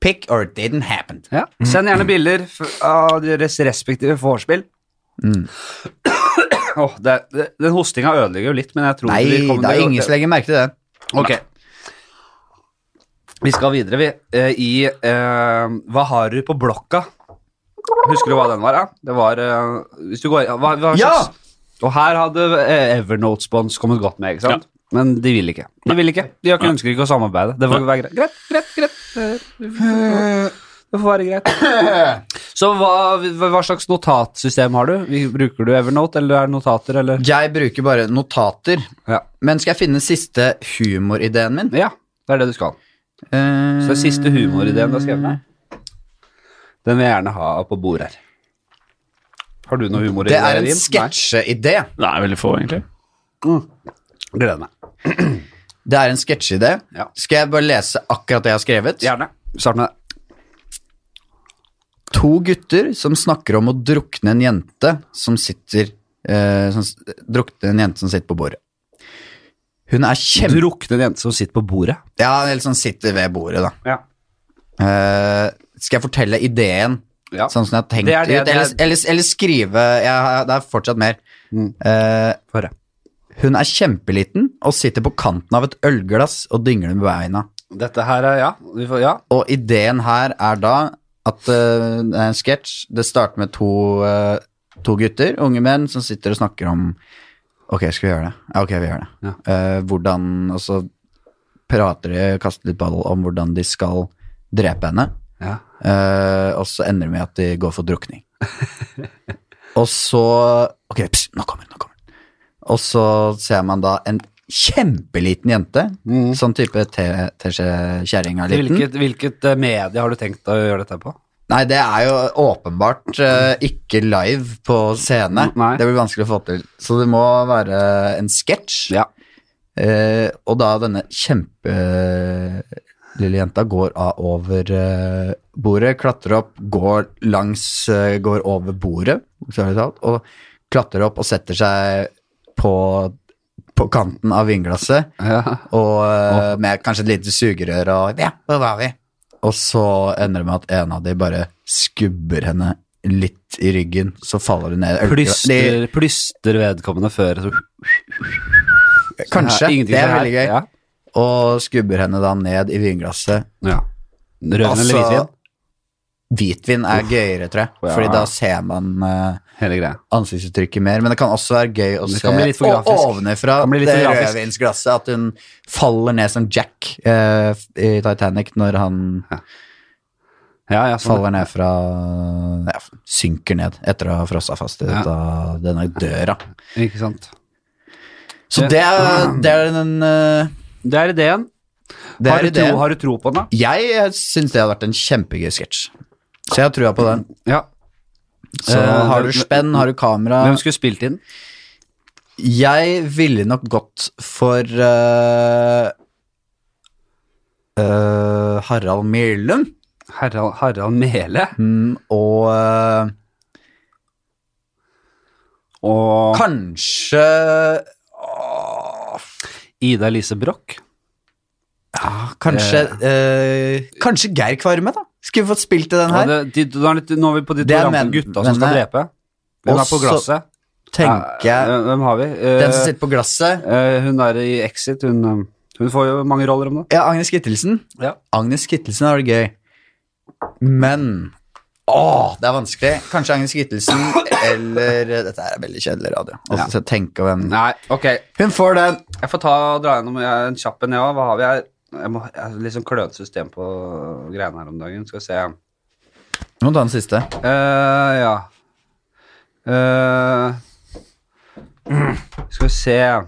S2: Pick or it didn't happen.
S1: ja. Send gjerne bilder f- av deres respektive vorspiel.
S2: Mm.
S1: Åh, det, det, den hostinga ødelegger jo litt, men jeg tror
S2: Nei,
S1: vi kommer-
S2: det er ingen som legger merke til det.
S1: Ok. Vi skal videre, vi. Eh, I eh, Hva har du på blokka? Husker du hva den var? da? Det var eh, Hvis du går hva, hva
S2: Ja!
S1: slags- Og her hadde eh, Evernote-spons kommet godt med, ikke sant? Men de vil ikke. De vil ikke. De har ikke ønsker ikke å samarbeide. Det får være greit. Greit, greit, greit. Eh, Det får være greit. Så hva, hva slags notatsystem har du? Vi- Bruker du Evernote, eller er det notater, eller?
S2: Jeg bruker bare notater.
S1: Ja.
S2: Men skal jeg finne siste humorideen min?
S1: ja. Det er det du skal.
S2: Eh,
S1: Så det er siste humorideen du har skrevet ned? Den vil jeg gjerne ha på bordet her. Har du noe humoridé?
S2: det er en
S1: Jim?
S2: sketsjeidé.
S3: Det er veldig få, egentlig.
S1: Nei. Gleder meg.
S2: Det er en sketsjeidé.
S1: Ja.
S2: Skal jeg bare lese akkurat det jeg har skrevet?
S1: Gjerne. Start med det.
S2: To gutter som snakker om å drukne en jente som sitter eh, som, s- Drukne en jente som sitter på bordet. Hun er kjempe...
S1: Drukne en jente som sitter på bordet.
S2: Ja, eller sånn sitter ved bordet, da.
S1: Ja.
S2: Eh, skal jeg fortelle ideen
S1: Ja.
S2: sånn som jeg har tenkt
S1: Det er det-
S2: ut?
S1: det er-
S2: Eller, eller, eller skrive jeg, har- Det er fortsatt mer.
S1: Mm.
S2: Eh,
S1: Få høre.
S2: Hun er kjempeliten og sitter på kanten av et ølglass og dingler med beina.
S1: Dette her er Ja. Vi får, ja.
S2: Og ideen her er da at eh, det er en sketsj. Det starter med to, eh, to gutter, unge menn, som sitter og snakker om Ok, skal vi gjøre det? Ja, ok, vi gjør det. Eh, hvordan Og så prater de, kaster litt ball om hvordan de skal drepe henne.
S1: ja.
S2: Eh, og så ender det med at de går for drukning. og så Ok, pss, nå kommer den, nå kommer den. Og så ser man da en kjempeliten jente.
S1: Mm.
S2: Sånn type te- teskjekjerringa
S1: Til
S2: liten.
S1: Hvilket, hvilket eh, medie har du tenkt å gjøre dette på?
S2: Nei, det er jo åpenbart eh, ikke live på scene.
S1: Nei.
S2: Det blir vanskelig å få til. Så det må være en sketsj.
S1: Ja.
S2: Eh, og da denne kjempelille jenta går av over eh, bordet, klatrer opp, går langs, eh, går over bordet, bokstavelig talt, og klatrer opp og setter seg på, på kanten av vinglasset,
S1: ja.
S2: og eh, med kanskje et lite sugerør og Ja, hvor var vi? Og så ender det med at en av de bare skubber henne litt i ryggen, så faller hun ned.
S1: Plyster, plyster vedkommende før så,
S2: De- Kanskje.
S1: Ingenting
S2: Det er
S1: for
S2: veldig gøy.
S1: her.
S2: Og skubber henne da ned i vinglasset. Altså,
S1: Ja. ja. Rødvin eller hvitvin?
S2: Hvitvin er gøyere, tror jeg.
S1: Ja.
S2: Fordi da ser man eh,
S1: Hele greia.
S2: ansiktsuttrykket mer. Men det kan også være gøy å
S1: Det
S2: se
S1: kan bli litt for
S2: o-
S1: grafisk.
S2: ovenifra
S1: Det kan bli
S2: det,
S1: litt for grafisk.
S2: rødvinsglasset. At hun faller ned som Jack eh, i Titanic når han
S1: Ja, ja, sånn.
S2: faller ned fra ja, Synker ned etter å ha frossa fast i dette, denne døra.
S1: Ikke sant.
S2: Så det er, det er den eh,
S1: Det er ideen.
S2: Det
S1: har,
S2: er
S1: du tro,
S2: ideen.
S1: har du tro på den, da?
S2: Jeg syns det hadde vært en kjempegøy sketsj. Så jeg har trua på den.
S1: Ja.
S2: Så
S1: Eh,
S2: har du
S1: hvem-
S2: spenn, har du kamera
S1: Hvem skulle spilt inn?
S2: Jeg ville nok gått for eh, eh, Harald Myrlund
S1: Harald, Harald Mele?
S2: mm, og eh,
S1: Og
S2: Kanskje Åh,
S1: Ida Elise Broch.
S2: ja, Kanskje eh, Kanskje Geir Kvarme, da? Skulle vi fått spilt i den
S1: Ja,
S2: her?
S1: det- de- Nå er litt- nå er vi på de to
S2: Det er
S1: rampe
S2: men-
S1: gutta som skal
S2: men det-
S1: drepe. Hvem er på
S2: Også-
S1: glasset?
S2: Tenker
S1: Ja,
S2: jeg
S1: hvem- Hvem har vi? Eh,
S2: Den som sitter på glasset
S1: eh, hun er i Exit. Hun, eh, hun får jo mange roller om det.
S2: Ja, Agnes Kittelsen.
S1: Ja.
S2: Agnes Kittelsen har det gøy. Men Åh, det er vanskelig. Kanskje Agnes Kittelsen eller Dette her er veldig kjedelig radio. Altså, så tenk om hvem
S1: Nei, ok.
S2: Hun får den.
S1: Jeg får ta, dra gjennom jeg- en kjapp en, jeg òg. Hva har vi her? Jeg, må, jeg har litt sånn klønete system på greiene her om dagen. Skal vi se.
S2: Du må ta den siste.
S1: Eh, ja. Eh, skal vi se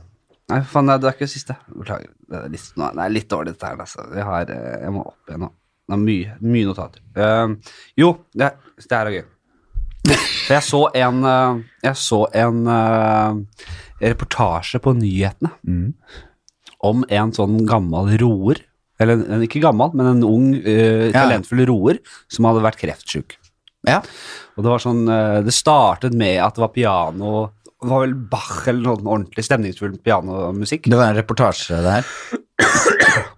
S1: Nei, faen, nei, det er ikke det siste. Beklager. Det er litt, nå- det er litt dårlig, dette her. Altså. Jeg, har, eh, jeg må opp igjen nå. Det er mye, mye notater. Eh, jo, det, det her er gøy. For jeg så en, eh, jeg så en eh, reportasje på nyhetene om en sånn gammel roer. Eller en- en, ikke gammel, men en ung, eh,
S2: Ja.
S1: talentfull roer som hadde vært kreftsyk.
S2: Ja.
S1: Og det var sånn eh, Det startet med at det var piano Det var vel Bach eller noe ordentlig stemningsfull pianomusikk.
S2: Det var en reportasje, det her.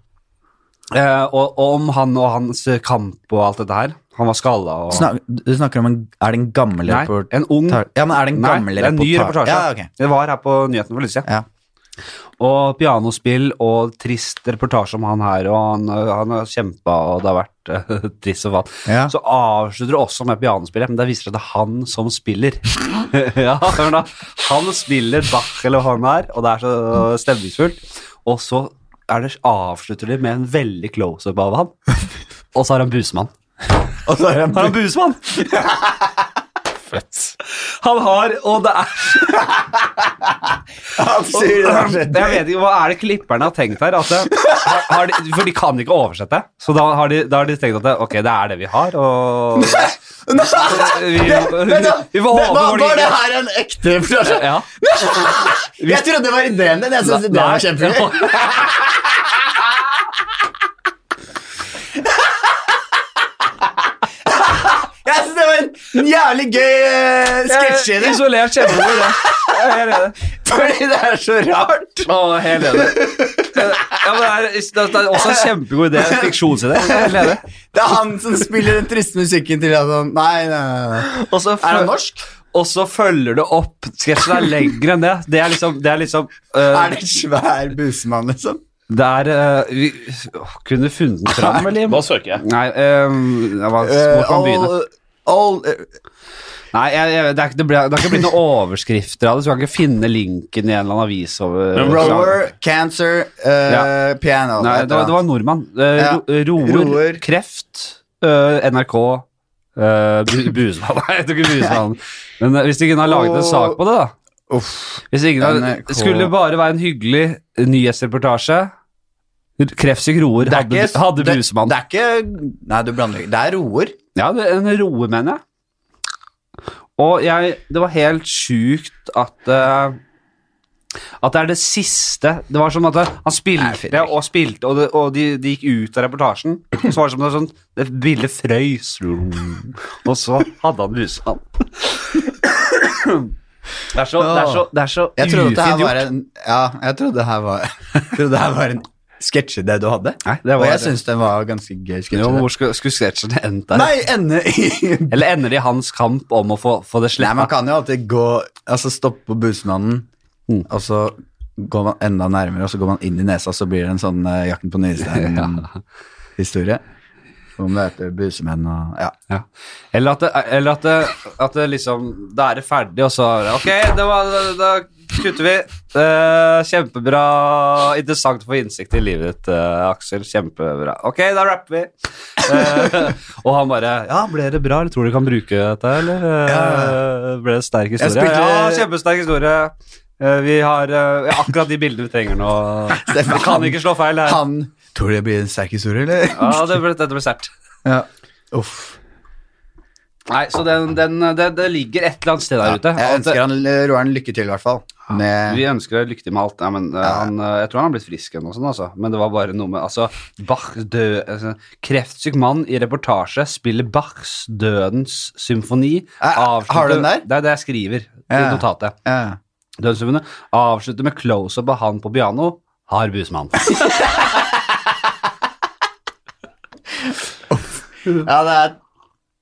S1: Eh, og, og om han og hans kamp og alt dette her. Han var skalla og
S2: Snak, du snakker om en Er det en gammel
S1: Nei,
S2: reportasje?
S1: en ung
S2: Ja, men er det en
S1: Nei,
S2: gammel
S1: det er en ny reportasje.
S2: Ja, ok.
S1: Det var her på nyhetene for litt siden.
S2: Ja.
S1: Og pianospill og trist reportasje om han her, og han, øh, han har kjempa, og det har vært øh, trist og fatt.
S2: Ja.
S1: Så avslutter det også med pianospillet, men det viser seg at det er han som spiller. ja, hør da. Han spiller Bach eller hva han er, og det er så øh, stemningsfullt. Og så er det, avslutter de med en veldig close-up av han, og så har han busemann.
S2: Og så er det en
S1: Har han busemann?
S3: Fett.
S1: Han har, og det er Jeg
S2: absurd
S1: vet ikke, Hva er det klipperne har tenkt her? Altså, har- har de, for de kan ikke oversette. Så da har de, da har de tenkt at det, ok, det er det vi har, og Vi, vi får håpe
S2: Var
S1: for de
S2: var det her en ekte reportasje?
S1: Ja.
S2: Jeg trodde det var ideen din. Jeg synes ideen
S1: Nei.
S2: var kjempegøy. Jeg synes det var en jævlig gøy uh, sketsj i det.
S1: Isolert kjempebra. det. Jeg er helt enig.
S2: Fordi det er så rart.
S1: Å, Helt enig. Ja, men det, er, det er også en kjempegod idé. en Fiksjonsidé. Helt enig.
S2: Det er han som spiller den triste musikken til han sånn Nei, nei, nei.
S1: Og så
S2: Er
S1: føl-
S2: han norsk?
S1: Og så følger det opp. Sketsjen er lengre enn det. Det er liksom, det er liksom øh,
S2: Er det en svær busemann, liksom?
S1: Det er eh, vi, åh, Kunne funnet den fram, eller?
S3: Hva søker jeg?
S1: Nei, ehm, ja, hva, hvor kan man begynne?
S2: Eh, all, eh,
S1: Nei, jeg, jeg, det, er, ikke- det, ble, det har ikke blitt noen overskrifter av det, så jeg kan ikke finne linken i en eller annen avis. Over,
S3: Men hva-
S2: Rower, cancer, eh, piano.
S1: Nei,
S2: et
S1: det, var- det
S2: eller
S1: var
S2: annet.
S1: en nordmann. Eh,
S2: Ja.
S1: ro, roer,
S2: Roer.
S1: kreft, eh, NRK eh, bu, Busemann. Nei, jeg tror ikke Busemann. Men eh, hvis de kunne ha laget en sak på det, da.
S2: Uff.
S1: Hvis ingen hadde,
S2: NRK.
S1: skulle bare være en hyggelig nyhetsreportasje. Kreftsyk roer
S2: Det er
S1: hadde,
S2: ikke-
S1: hadde
S2: det-
S1: Busemann.
S2: Det er ikke Nei, du blander ikke. Det er roer.
S1: Ja, det er en roe, mener jeg. Og jeg, det var helt sjukt at eh, At det er det siste Det var som at han
S2: Nei,
S1: spilte
S2: finner ikke.
S1: og spilte, og, det, og de, de gikk ut av reportasjen. Så var det som det, sånn, det bildet frøys, og så hadde han busemann. Det er så, det er så, det er så
S2: Jeg trodde at det her
S1: ufint gjort.
S2: var en Ja, jeg trodde det her var, jeg trodde det her var en sketsjeidé du hadde.
S1: Nei, det
S2: Og
S1: var
S2: jeg syns den var ganske
S1: jo,
S2: gøy. sketsjeidé.
S1: Hvor skulle, skulle sketsjen endt der?
S2: Nei, ende i
S1: Eller ender det i hans kamp om å få, få det
S2: Nei, man
S1: slettet?
S2: kan jo alltid gå Altså stoppe på busmannen,
S1: Mm.
S2: og så går man enda nærmere, og så går man inn i nesa, og så blir det en sånn eh, Jakten på Nyestein-historie. Om det heter busemenn og Ja.
S1: Ja. Eller, at det, eller at, det, at det liksom Da er det ferdig, og så er det, Ok, det var, da, da kutter vi. Eh, kjempebra. Interessant å få innsikt i livet ditt, eh, Aksel. Kjempebra. Ok, da rapper vi. Eh, og han bare Ja, ble det bra? Eller tror du du kan bruke dette, eller? Eh, ble det sterk historie?
S2: spilte-
S1: Ja, kjempesterk historie. Eh, vi har eh, akkurat de bildene vi trenger nå. Vi kan ikke slå feil her.
S2: Han Tror du det blir en sterk historie, eller?
S1: Ja, det ble, dette ble sterkt.
S2: Ja. Uff.
S1: Nei, så den, den, det, det ligger et eller annet sted der ute.
S2: Jeg
S1: At-
S2: ønsker han eh, Roaren lykke til, i hvert fall. Med
S1: Vi ønsker deg lykke til med alt. Ja, men, eh, han, eh, jeg tror han har blitt frisk igjen, og sånn, altså. men det var bare noe med altså, Bach død, altså, Kreftsyk mann i reportasje spiller Bachs Dødens symfoni.
S2: Eh, har du den der?
S1: Det er det jeg skriver. i
S2: Ja.
S1: notatet.
S2: Ja.
S1: Dødssummene avslutter med close-up av han på piano. Har busmann.
S2: ja, det er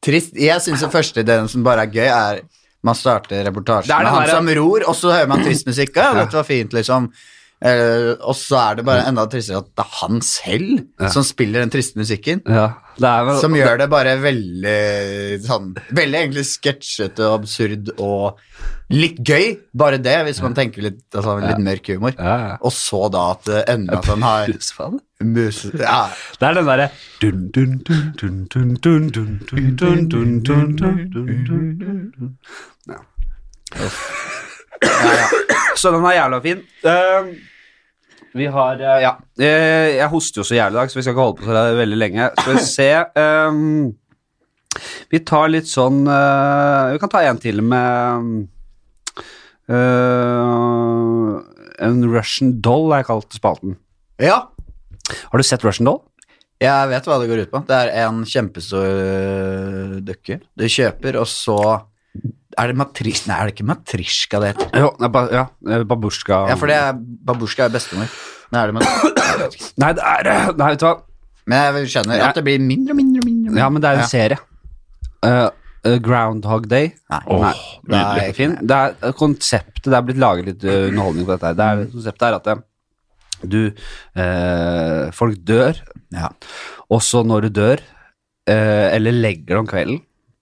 S2: trist. Jeg syns den første ideen som bare er gøy, er man starter reportasjen
S1: Det er
S2: med
S1: den
S2: han
S1: der-
S2: som ror, og så hører man trist musikk. Ja, dette var fint, liksom. Eh, og så er det bare enda tristere at det er han selv som spiller den triste musikken.
S1: Ja, det er vel
S2: Som gjør det bare veldig sånn Veldig egentlig sketsjete og absurd og litt gøy. Bare det, hvis man tenker litt, altså, litt mørk humor.
S1: ja, ja.
S2: Og så da at det ender med at han har
S1: Busmann?
S2: mus... Ja.
S1: Det er den derre dun, dun, dun, dun, dun, dun, dun, dun, dun, dun, dun, dun, dun, dun, dun. Ja. Så den er jævla fin.
S2: Ehm,
S1: Eh, Vi har eh, Ja. Eh, Jeg hoster jo så jævlig i dag, så vi skal ikke holde på så veldig lenge. Skal vi se eh, Vi tar litt sånn eh, Vi kan ta en til med eh, En Russian doll, er kalt spalten.
S2: ja.
S1: Har du sett Russian doll?
S2: Jeg vet hva det går ut på. Det er en kjempestor øh, dukke du kjøper, og så Er det matris... Nei, er det ikke matrishka det heter?
S1: Jo, nei, ba, ja, eh, babusjka
S2: Ja, for det er babusjka er bestemor. Nei, er det mat-
S1: Nei, det er eh, Nei, vet du hva?
S2: Men jeg skjønner at det blir mindre og mindre og mindre.
S1: Ja, men det er en
S2: Ja.
S1: serie. Eh, eh, Groundhog Day.
S2: Nei,
S3: Åh,
S2: nei. Det
S3: nydelig.
S2: er
S1: Fin. Det er eh, konseptet Det er blitt laget litt eh, underholdning på dette her. Det er, konseptet er at eh, du eh, Folk dør,
S2: Ja.
S1: og så når du dør, eh, eller legger deg om kvelden,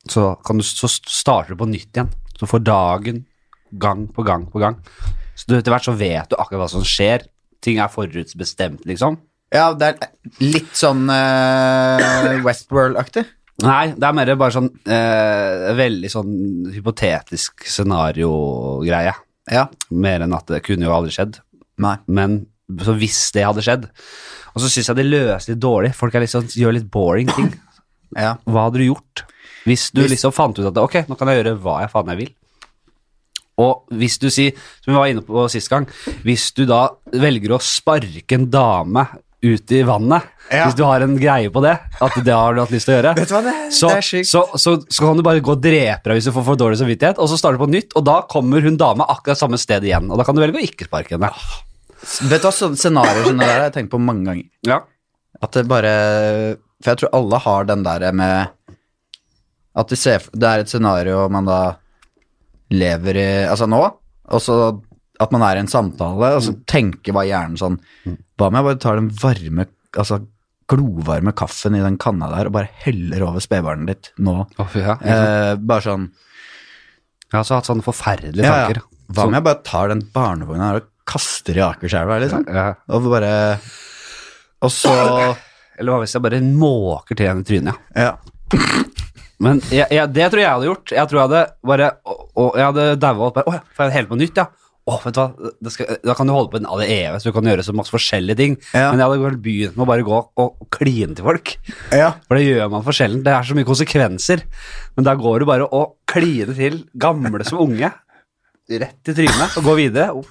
S1: så, kan du, så starter du på nytt igjen. Så får dagen gang på gang på gang. Så du, etter hvert så vet du akkurat hva som skjer. Ting er forutbestemt, liksom.
S2: Ja, det er litt sånn eh, Westworld-aktig.
S1: Nei, det er mer bare sånn eh, veldig sånn hypotetisk scenario-greie.
S2: Ja.
S1: Mer enn at det kunne jo aldri skjedd.
S2: Nei.
S1: Men så hvis det hadde skjedd Og så syns jeg det løser litt dårlig. Folk er litt sånn- gjør litt boring ting.
S2: Ja.
S1: Hva hadde du gjort hvis du
S2: Hvis-
S1: liksom fant ut at ok, nå kan jeg gjøre hva jeg faen jeg vil? Og hvis du sier, som vi var inne på sist gang, hvis du da velger å sparke en dame ut i vannet,
S2: Ja.
S1: hvis du har en greie på det, at det har du hatt lyst til å gjøre,
S2: Vet du hva, det-
S1: så,
S2: det er sykt.
S1: Så, så, så kan du bare gå og drepe deg hvis du får for dårlig samvittighet, og så starter du på nytt, og da kommer hun dame akkurat samme sted igjen, og da kan du velge å ikke sparke henne.
S2: Vet du hva sånne scenarioer som det der har jeg tenkt på mange ganger?
S1: Ja.
S2: At det bare For jeg tror alle har den der med At de ser, det er et scenario man da lever i Altså nå, og så at man er i en samtale, og så tenker bare hjernen sånn Hva om jeg bare tar den varme, altså glovarme kaffen i den kanna der og bare heller over spedbarnet ditt nå?
S1: ja.
S2: Eh, bare sånn
S1: Jeg har også hatt sånne forferdelige tanker.
S2: Hva om jeg bare tar den barnevogna her og kaster i Akerselva, liksom?
S1: Ja.
S2: Og bare Og så
S1: Eller hva hvis jeg bare måker til henne i trynet? ja.
S2: Ja.
S1: Men jeg, jeg, det tror jeg jeg hadde gjort. Jeg tror jeg hadde bare og, og Jeg hadde daua opp bare Å ja, får jeg det hele på nytt, ja? Å, vet du hva, det skal, da kan du holde på en av det evige, så du kan gjøre så masse forskjellige ting.
S2: Ja.
S1: Men jeg hadde vel begynt med å bare gå og kline til folk.
S2: ja.
S1: For det gjør man for sjelden. Det er så mye konsekvenser. Men da går du bare og kliner til gamle som unge, rett i trynet, og går videre. Og,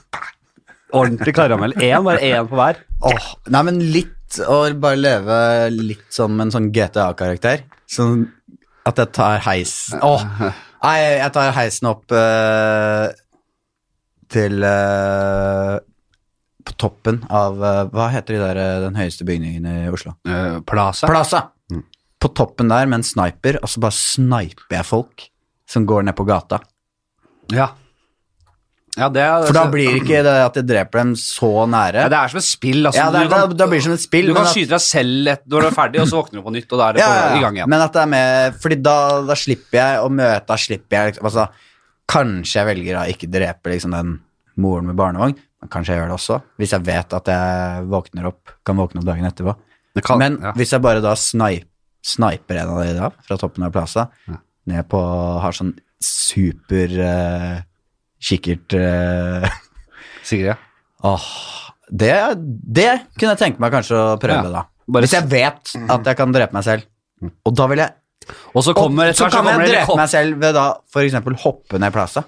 S1: ordentlig karamell. Én, bare én på hver.
S2: Åh, nei, men litt å bare leve litt som en sånn GTA-karakter. Sånn at jeg tar heisen Åh, nei, jeg tar heisen opp eh, til eh, På toppen av eh, Hva heter de der, eh, den høyeste bygningen i Oslo?
S1: Plaza.
S2: Eh, Plaza!
S1: Mm.
S2: På toppen der med en sniper, og så bare sniper jeg folk som går ned på gata.
S1: Ja. ja det, er-
S2: For da blir det ikke det at jeg dreper dem så nære.
S1: Altså- Ja, det er som et spill. Altså,
S2: Ja, det er-
S1: Du kan-
S2: da- da blir det som et spill,
S1: Du
S2: men
S1: kan
S2: at-
S1: skyte deg selv et, når du er ferdig, og så våkner du på nytt, og da er det på, i gang igjen.
S2: Men at det er med Fordi da, da slipper jeg å møte, da slipper jeg liksom, altså, Kanskje jeg velger å ikke drepe liksom, den moren med barnevogn, men kanskje jeg gjør det også. Hvis jeg vet at jeg våkner opp, kan våkne opp dagen etterpå.
S1: Det kan-
S2: men
S1: ja.
S2: hvis jeg bare da snipe, sniper en av de da, fra toppen av plaza, ned på Har sånn super eh, kikkert eh,
S1: Sigrid, ja.
S2: Åh, det, det kunne jeg tenke meg kanskje å
S1: Ja.
S2: prøve, da.
S1: Bare Mm.
S2: Hvis jeg vet at jeg kan drepe meg selv. Og da vil jeg
S1: Og så
S2: og,
S1: kommer etter
S2: Så
S1: hvert så
S2: kan
S1: kommer
S2: jeg
S1: det
S2: drepe
S1: helikopter.
S2: meg selv ved da for eksempel hoppe ned plassa.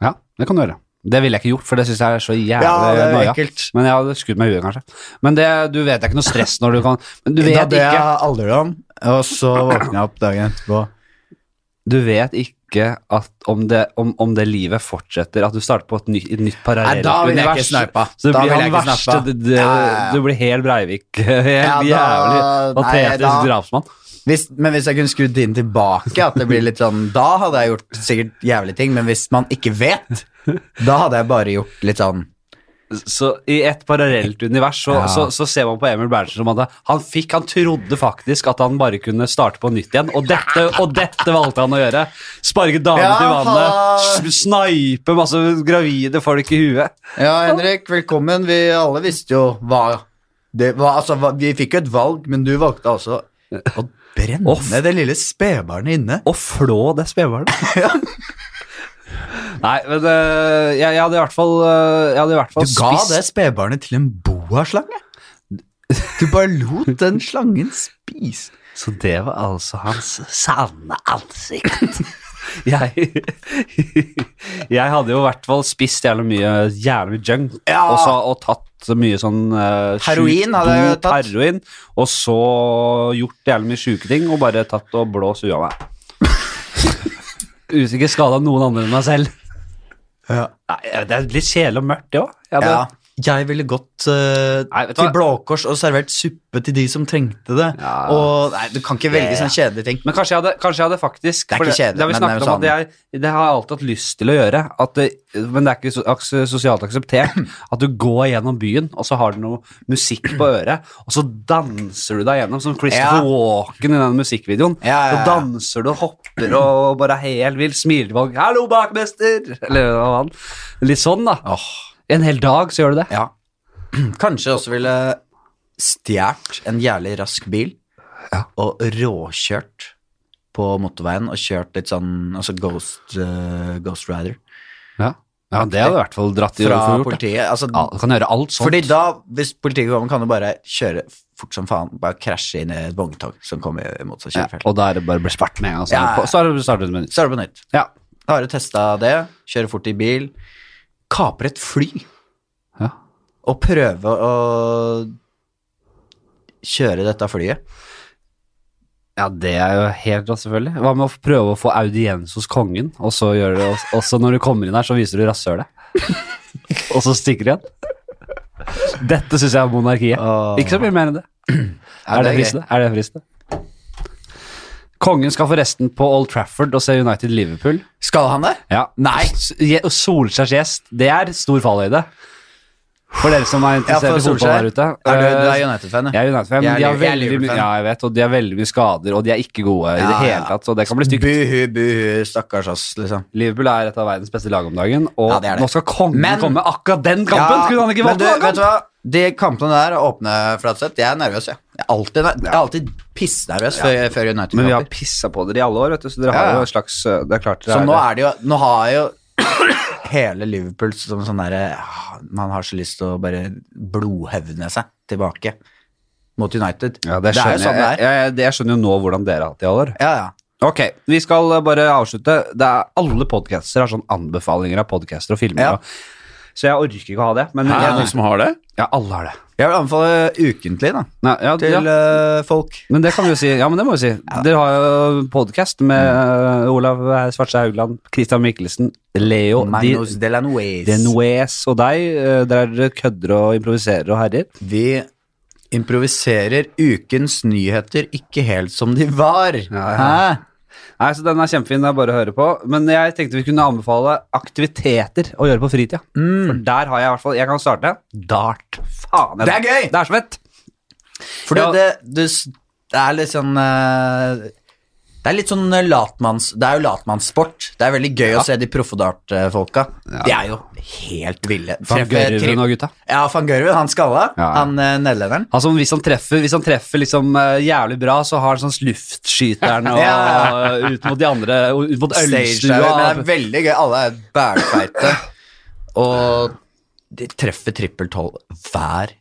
S1: Ja, det kan du gjøre. Det ville jeg ikke gjort, for det syns jeg er så jævlig
S2: Ja, det er
S1: nøya.
S2: ekkelt.
S1: Men jeg hadde skutt meg i huet, kanskje. Men det, du vet det er ikke noe stress når du kan Men du
S2: Da
S1: vet
S2: dør jeg
S1: ikke
S2: av alderdom, og så våkner jeg opp dagen etterpå.
S1: Du vet ikke tenke at om det, om, om det livet fortsetter, at du starter på et, ny, et nytt
S2: Nei,
S1: parallelt
S2: da vil jeg ikke
S1: univers,
S2: snaupa.
S1: så du
S2: Da
S1: blir
S2: vil jeg
S1: han
S2: ikke
S1: verste
S2: snaupa.
S1: du, du,
S2: Ja, ja, ja.
S1: du blir helt Breivik. Helt
S2: Ja,
S1: jævlig
S2: da- nei,
S1: patetisk
S2: da-
S1: drapsmann.
S2: Hvis, men hvis jeg kunne skrudd tiden tilbake, at det blir litt sånn Da hadde jeg gjort sikkert jævlige ting, men hvis man ikke vet, da hadde jeg bare gjort litt sånn
S1: Så i et parallelt univers så,
S2: Ja.
S1: så, så ser man på Emil Berntsen som at han fikk Han trodde faktisk at han bare kunne starte på nytt igjen, og dette, og dette valgte han å gjøre. Sparke damer
S2: Ja,
S1: til
S2: ha-
S1: vannet, s- snaipe masse gravide folk i huet.
S2: Ja, Henrik, velkommen. Vi alle visste jo hva det var. Altså, hva, vi fikk jo et valg, men du valgte altså å brenne
S1: Off.
S2: det lille spedbarnet inne.
S1: Og flå det spedbarnet. Nei, men eh, jeg, jeg hadde i hvert fall, eh, jeg hadde i hvert
S2: Du
S1: fall
S2: ga
S1: spist
S2: det spedbarnet til en boaslange. Du bare lot den slangen spise.
S1: Så det var altså hans sanne ansikt. jeg, jeg hadde jo i hvert fall spist jævlig mye, jævlig mye junk,
S2: Ja.
S1: og, så, og tatt så mye sånn eh, sjukt
S2: Heroin hadde jeg jo
S1: dop,
S2: tatt.
S1: Heroin, og så gjort jævlig mye sjuke ting, og bare tatt og blåst huet av meg. Usikker skada noen andre enn meg selv.
S2: Ja.
S1: Nei, det er litt kjedelig og mørkt, det òg. Jeg hadde-
S2: Ja. Jeg ville gått eh,
S1: Nei, vet du
S2: til
S1: hva?
S2: Blå Kors og servert suppe til de som trengte det.
S1: Ja.
S2: Og nei, du kan ikke velge sånne kjedelige ting.
S1: Men kanskje jeg hadde, kanskje jeg hadde faktisk
S2: Det er
S1: for
S2: ikke kjedelig,
S1: det sånn. har vi
S2: men det er
S1: snakket
S2: jo
S1: om at jeg, det har jeg alltid hatt lyst til å gjøre, at det, men det er ikke so- aks- sosialt akseptert. At du går gjennom byen, og så har du noe musikk på øret, og så danser du deg gjennom, som Christopher
S2: Ja.
S1: Walken i den musikkvideoen.
S2: Ja, ja, ja.
S1: Så danser du og hopper og bare er helt vill, smiler til folk 'Hallo, bakmester!' Eller hva faen. Litt sånn, da. En hel dag så gjør du det.
S2: Ja. Kanskje jeg også ville stjålet en jævlig rask bil
S1: Ja.
S2: og råkjørt på motorveien og kjørt litt sånn altså Ghost, eh, ghost Rider
S1: Ja, det hadde i hvert fall dratt i
S2: fra
S1: gjort, da.
S2: politiet. Altså,
S1: Ja, Du kan gjøre alt sånt.
S2: fordi da, hvis politiet kommer, kan du bare kjøre fort som faen. Bare krasje inn i et vogntog som kommer i motsatt
S1: ja,
S2: kjørefelt.
S1: og da er det bare å bli svart med en gang. Så,
S2: Ja, ja, ja.
S1: så er det- så starter du med en
S2: Så er det på nytt.
S1: Ja.
S2: Da har du testa det. Kjøre fort i bil. Kapre et fly
S1: Ja.
S2: og prøve å kjøre dette flyet.
S1: Ja, det er jo helt rått, selvfølgelig. Hva med å prøve å få audiens hos kongen, og så gjør det, og så når du kommer inn her, så viser du rasshølet. og så stikker du igjen. Dette syns jeg er monarkiet.
S2: Åh.
S1: Ikke så mye mer enn det.
S2: Ja,
S1: er det
S2: er gøy.
S1: fristende? Er det fristende? Kongen skal forresten på Old Trafford og se United Liverpool.
S2: Skal han det?
S1: Ja.
S2: Nei.
S1: S- Je- og Solskjærs gjest, det er stor fallhøyde. For dere som er
S2: Ja, for
S1: interessert i fotball
S2: Solskjær.
S1: der ute.
S2: Er du, du er
S1: Eh,
S2: United-fan, ja.
S1: Jeg er United-fan,
S2: Jeg er
S1: men de har
S2: Liv- jeg er
S1: veldig mye
S2: Liverpool-fan.
S1: Ja, jeg vet, og de har veldig mye skader, og de er ikke gode i
S2: Ja,
S1: det hele
S2: ja.
S1: tatt, så det kan bli stygt.
S2: Buhu, buhu, stakkars oss, liksom.
S1: Liverpool er et av verdens beste lag om dagen, og
S2: Ja, det er det.
S1: nå skal kongen
S2: Men-
S1: komme. Akkurat den kampen
S2: Ja,
S1: kunne han ikke valgt
S2: men du,
S1: noen
S2: vet
S1: kamp!
S2: du hva? De kampene der er åpne, Flatseth. Jeg er nervøs, jeg. Jeg er alltid, ner- jeg er alltid pissnervøs før, før
S1: Men vi har
S2: United-kamper.
S1: pissa på dere i alle år, vet du, så dere
S2: Ja, ja.
S1: har jo et slags øh, Det er klart dere
S2: Så
S1: er
S2: nå
S1: det.
S2: er det jo Nå har jo hele Liverpool som sånn derre ah, Man har så lyst til å bare blodhevne seg tilbake mot United.
S1: ja, det,
S2: er
S1: skjønner
S2: jo sånn
S1: jeg.
S2: det er.
S1: Jeg, jeg, det jeg skjønner jo nå hvordan dere har hatt det i alle år.
S2: Ja, ja.
S1: Ok, vi skal eh, bare avslutte. Det er, alle podcaster har sånn anbefalinger av podcaster og filmer.
S2: Ja.
S1: Og, så jeg orker ikke å ha det. Men
S3: Er det
S1: jeg,
S3: noen som har det?
S1: ja, alle har det.
S2: Jeg vil anbefale ukentlig, da,
S1: Nei, ja,
S2: til
S1: ja.
S2: eh, folk.
S1: Men det kan vi jo si. Ja, men det må vi si. Dere har jo podkast med eh, Olav Svartstad Haugland, Christian Michelsen, Leo Di-
S2: Magnus Delanois.
S1: Denoes og deg. eh, Der dere kødder og improviserer og herjer.
S2: Vi improviserer ukens nyheter ikke helt som de var.
S1: ja. Nei, så Den er kjempefin. Det er bare å høre på. Men jeg tenkte vi kunne anbefale aktiviteter å gjøre på fritida.
S2: Mm.
S1: For der har jeg i hvert fall Jeg kan starte. Dart. Faen. jeg-
S2: Det er gøy!
S1: Det er så fett.
S2: For
S1: Ja.
S2: det, det, s- det er litt sånn eh, Det er litt sånn eh, latmanns... Det er jo latmannssport. Det er veldig gøy å se de proffedart-folka. De er jo helt ville.
S1: Van
S2: Treffer- tri-
S1: Gørven og gutta.
S2: Ja, van Gørven, han skalla.
S1: Ja, ja.
S2: Han eh, nederlenderen.
S1: Altså, hvis han treffer, hvis han treffer liksom, eh, jævlig bra, så har han sånn luftskyteren og,
S2: Ja.
S1: og ut mot de andre, og ut mot
S2: Stage diver, Men det
S1: ølstua.
S2: er veldig gøy. Alle er bælfeite. Og de treffer trippel tolv hver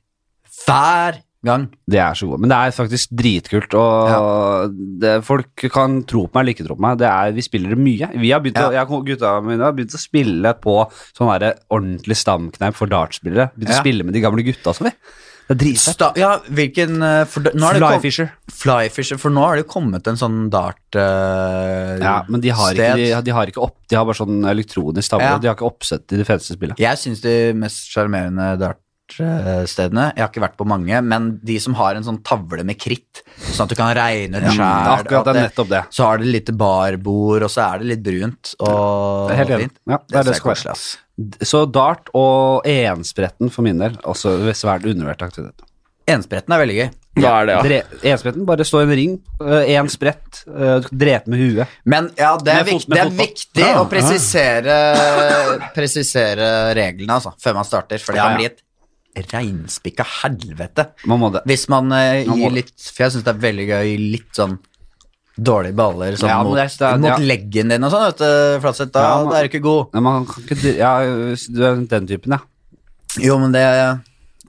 S2: Hver gang.
S1: Det er så gode. Men det er faktisk dritkult, og det, folk kan tro på meg eller ikke tro på meg. Det er, vi spiller det mye. Vi har begynt å, jeg, og gutta mine har begynt å spille på sånn der ordentlig stamkneip for dartspillere. Begynt
S2: Ja.
S1: å spille med de gamle gutta som vi. Det er dritfett.
S2: Sta, ja, hvilken eh, for, det- nå er det kom-
S1: Flyfisher.
S2: Flyfisher, for nå har det jo kommet en sånn dart eh,
S1: Ja, men de har, ikke,
S2: sted.
S1: de, de har ikke opp De har bare sånn elektronisk tavle.
S2: Ja.
S1: De har ikke oppsett i de feteste spillene.
S2: Jeg syns de mest sjarmerende dartstedene Jeg har ikke vært på mange, men de som har en sånn tavle med kritt, sånn at du kan regne ut
S1: Det er
S2: sjæl.
S1: akkurat det er nettopp det.
S2: så har det lite barbord, og så er det litt brunt og
S1: Jeg er Helt enig.
S2: fint.
S1: Ja, det
S2: Det
S1: er det
S2: ser
S1: som er.
S2: koselig, ass.
S1: Så dart og enspretten for min del, altså svært undervurdert aktivitet.
S2: Enspretten er veldig gøy.
S3: Hva er det, ja?
S1: Dre, enspretten, bare stå i en ring, én sprett, eh, du kan drepe med huet.
S2: Men ja, det er,
S1: Med fot-
S2: vik
S1: med
S2: det er
S1: fotball.
S2: viktig
S3: Ja,
S2: å presisere, presisere reglene altså, før man starter, for det
S1: Ja,
S2: kan
S1: ja.
S2: bli et reinspikka helvete.
S1: Man må det.
S2: Hvis man eh,
S1: Man må
S2: gir
S1: det.
S2: litt For jeg syns det er veldig gøy å gi litt sånn dårlige baller sånn,
S1: Ja, men
S2: mot,
S1: det er- det er-
S2: mot
S1: ja.
S2: leggen din og sånn, vet du, Flatseth. Da,
S1: Ja, man-
S2: da er du ikke god.
S1: Nei, man kan ikke dri- Ja, du er den typen, ja.
S2: Jo, men det,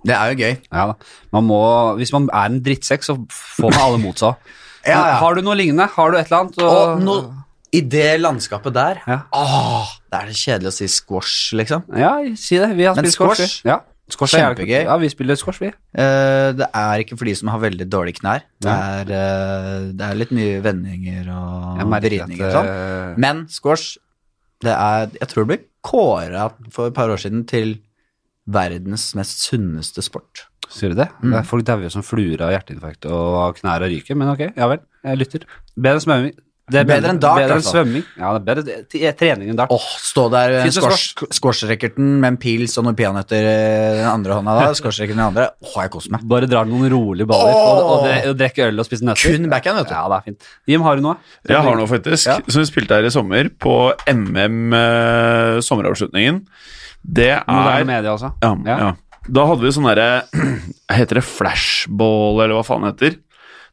S2: det er jo gøy.
S1: ja da. man må, hvis man er en drittsekk, så får man alle mot seg.
S2: Ja, ja.
S1: Har du noe lignende? Har du et eller annet?
S2: Og no, i det landskapet der
S1: Ja.
S2: Åh, det er det kjedelig å si squash, liksom.
S1: Ja, si det. Vi har
S2: Men
S1: spilt squash.
S2: squash?
S1: vi. Ja. Squash er
S2: Kjempegøy.
S1: Ja, vi spiller squash, vi.
S2: Eh, det er ikke for de som har veldig dårlige knær. Det er, eh, det er litt mye vendinger
S1: Jeg
S2: og
S1: merker
S2: vridninger
S1: at,
S2: og sånn. Men squash det er, Jeg tror det ble kåra for et par år siden til verdens mest sunneste sport.
S1: eh, Sier du det?
S2: Mm.
S1: det er folk dauer som fluer av hjerteinfarkt og av knær og ryker, men ok, ja vel. Jeg lytter. Bedre enn svømming. Det er
S2: Bedre enn dart,
S1: Bedre enn
S2: altså.
S1: svømming. Ja, det er bedre det- t- trening enn dart.
S2: Åh, stå der eh,
S1: Fins det
S2: squash- squash-rackerten med en pils og noen peanøtter i den andre hånda da. Squash-racketen i den andre. Åh, jeg koser meg.
S1: Bare drar noen rolige baller
S2: Åh!
S1: og, og, dre- og drikke øl og spise nøtter.
S2: Kun backhand, vet du.
S1: Ja, det er fint. Jim, har du noe?
S3: Jeg har noe, faktisk,
S2: Ja.
S3: som vi spilte her i sommer, på MM eh, sommeravslutningen. Det
S1: Moderne
S3: er
S1: media, altså.
S3: ja, ja. Da hadde vi sånn derre Heter det flashball, eller hva faen det heter?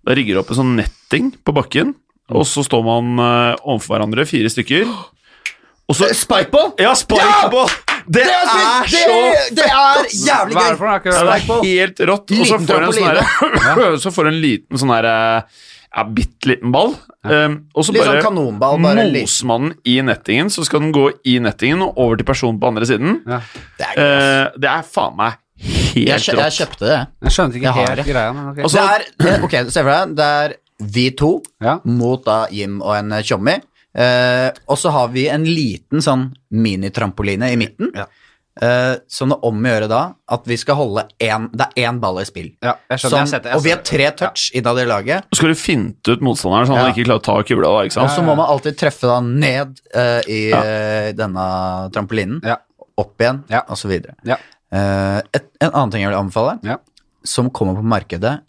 S3: Da rigger du opp en sånn netting på bakken, og så står man eh, overfor hverandre, fire stykker. Og så
S2: Spikeball!
S3: Ja, spikeball!
S2: Det
S3: Det,
S2: er,
S3: er
S2: spilt-
S3: så
S2: det, det er jævlig
S1: Hva er
S2: gøy!
S1: det for noe? Er ikke
S3: ja,
S1: det-
S3: det er helt rått. Og så
S2: Liten
S3: får du en sånn
S2: trampoline.
S3: herre- Så får du en liten sånn herre ja, bitte liten ball. Um, og så
S2: Litt sånn
S3: bare
S2: kanonball, bare litt.
S3: moser man den i nettingen, så skal den gå i nettingen og over til personen på andre siden.
S1: Ja.
S2: Det er,
S3: Eh, det er faen meg helt
S2: jeg, kjø- jeg
S3: rått.
S2: kjøpte det.
S1: Jeg skjønte ikke
S2: Jeg har
S1: helt
S2: det.
S1: greia, men ok.
S3: Altså-
S2: det er, det- ok, se for deg, det er vi to
S1: Ja.
S2: mot da Jim og en eh, tjommi. Eh, og så har vi en liten sånn minitrampoline i midten.
S1: Ja.
S2: Eh, som det er om å gjøre da, at vi skal holde én Det er én ball i spill.
S1: Ja, jeg skjønner,
S2: Som-
S1: jeg har sett det, jeg
S2: og vi
S1: ser
S2: har tre touch innad i laget.
S3: Så skal du finte ut motstanderen, så han
S2: Ja.
S3: ikke klarer å ta kula. Da, ikke
S2: Og
S3: sant?
S2: så må man alltid treffe da ned eh, i eh, denne trampolinen.
S1: Ja.
S2: Opp igjen,
S1: Ja.
S2: og så videre.
S1: Ja.
S2: Eh, et, en annen ting jeg vil anbefale,
S1: Ja.
S2: som kommer på markedet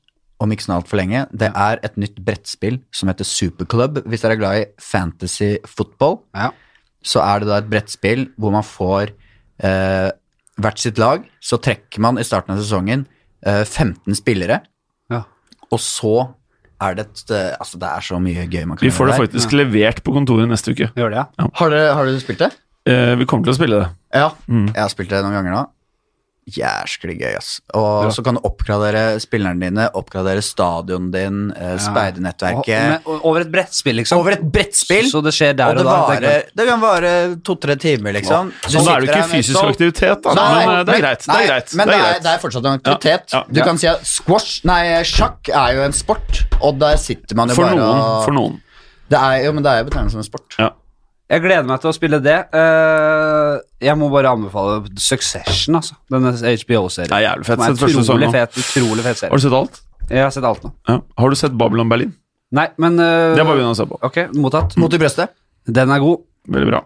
S2: om ikke så altfor lenge, det er et nytt brettspill som heter Superclub. Hvis dere er glad i fantasy football,
S1: Ja.
S2: så er det da et brettspill hvor man får eh, hvert sitt lag. Så trekker man i starten av sesongen eh, 15 spillere,
S1: Ja.
S2: og så er det et eh, Altså, det er så mye gøy man kan
S3: Vi får det
S2: der.
S3: faktisk levert på kontoret neste uke.
S1: Gjør det, ja.
S2: Har, dere- har du spilt det?
S3: Eh, vi kommer til å spille det.
S2: Ja,
S3: Mm.
S2: jeg har spilt det noen ganger nå. Jæsklig gøy, ass. Og så kan du oppgradere spillerne dine, oppgradere stadionen din, eh,
S1: Og-
S2: speidernettverket.
S1: men Over et brettspill, liksom.
S2: Over et brettspill,
S1: Så det skjer der og,
S2: og det,
S1: da.
S2: varer,
S1: tenker jeg.
S2: det kan vare to-tre timer, liksom. Du
S3: Så da Sånn
S2: sitter
S3: er det jo
S2: der
S3: ikke
S2: med
S3: fysisk
S2: stol-
S3: aktivitet, da.
S2: Nei,
S3: men eh, det er greit. Det
S2: nei,
S3: er greit.
S2: Men det
S3: det er
S2: er,
S3: greit.
S2: det er fortsatt en aktivitet.
S3: Ja, ja,
S2: Du kan si at squash Nei, sjakk er jo en sport, og der sitter man jo
S3: For
S2: bare
S3: noen.
S2: og
S3: For noen.
S2: Det er jo, men det er jo betegnet som en sport.
S3: Ja.
S1: Jeg gleder meg til å spille det. Eh, jeg må bare anbefale Succession, altså. Denne HBO-serien.
S3: Det er jævlig fett. Sett første
S1: Utrolig
S3: sesong nå.
S1: fet, utrolig fet serie.
S3: Har du sett alt?
S1: Jeg har sett alt nå.
S3: Ja. Har du sett Babylon Berlin?
S1: Nei, men eh,
S3: Det er bare å begynne å se på.
S1: Ok, mottatt.
S2: Mot i brøstet.
S1: Den er god.
S3: Veldig bra.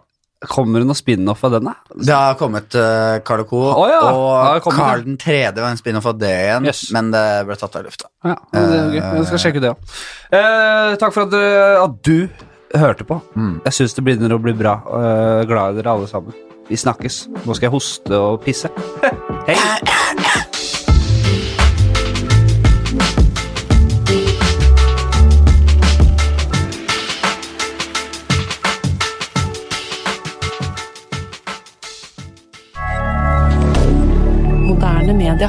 S1: Kommer det noe spin-off av den, da?
S2: Det har kommet eh, Carl Co.
S1: Å ja, det har
S2: og
S1: kommet,
S2: Carl 3. var en spin-off av det igjen,
S1: Yes.
S2: men det ble tatt av lufta.
S1: Ja, men det er gøy. Jeg skal sjekke ut det òg. Eh, takk for at, dere- at du hørte på.
S2: Mm.
S1: Jeg syns det begynner å bli bra. Eh, glad i dere alle sammen. Vi snakkes. Nå skal jeg hoste og pisse. Hei!
S4: Moderne media.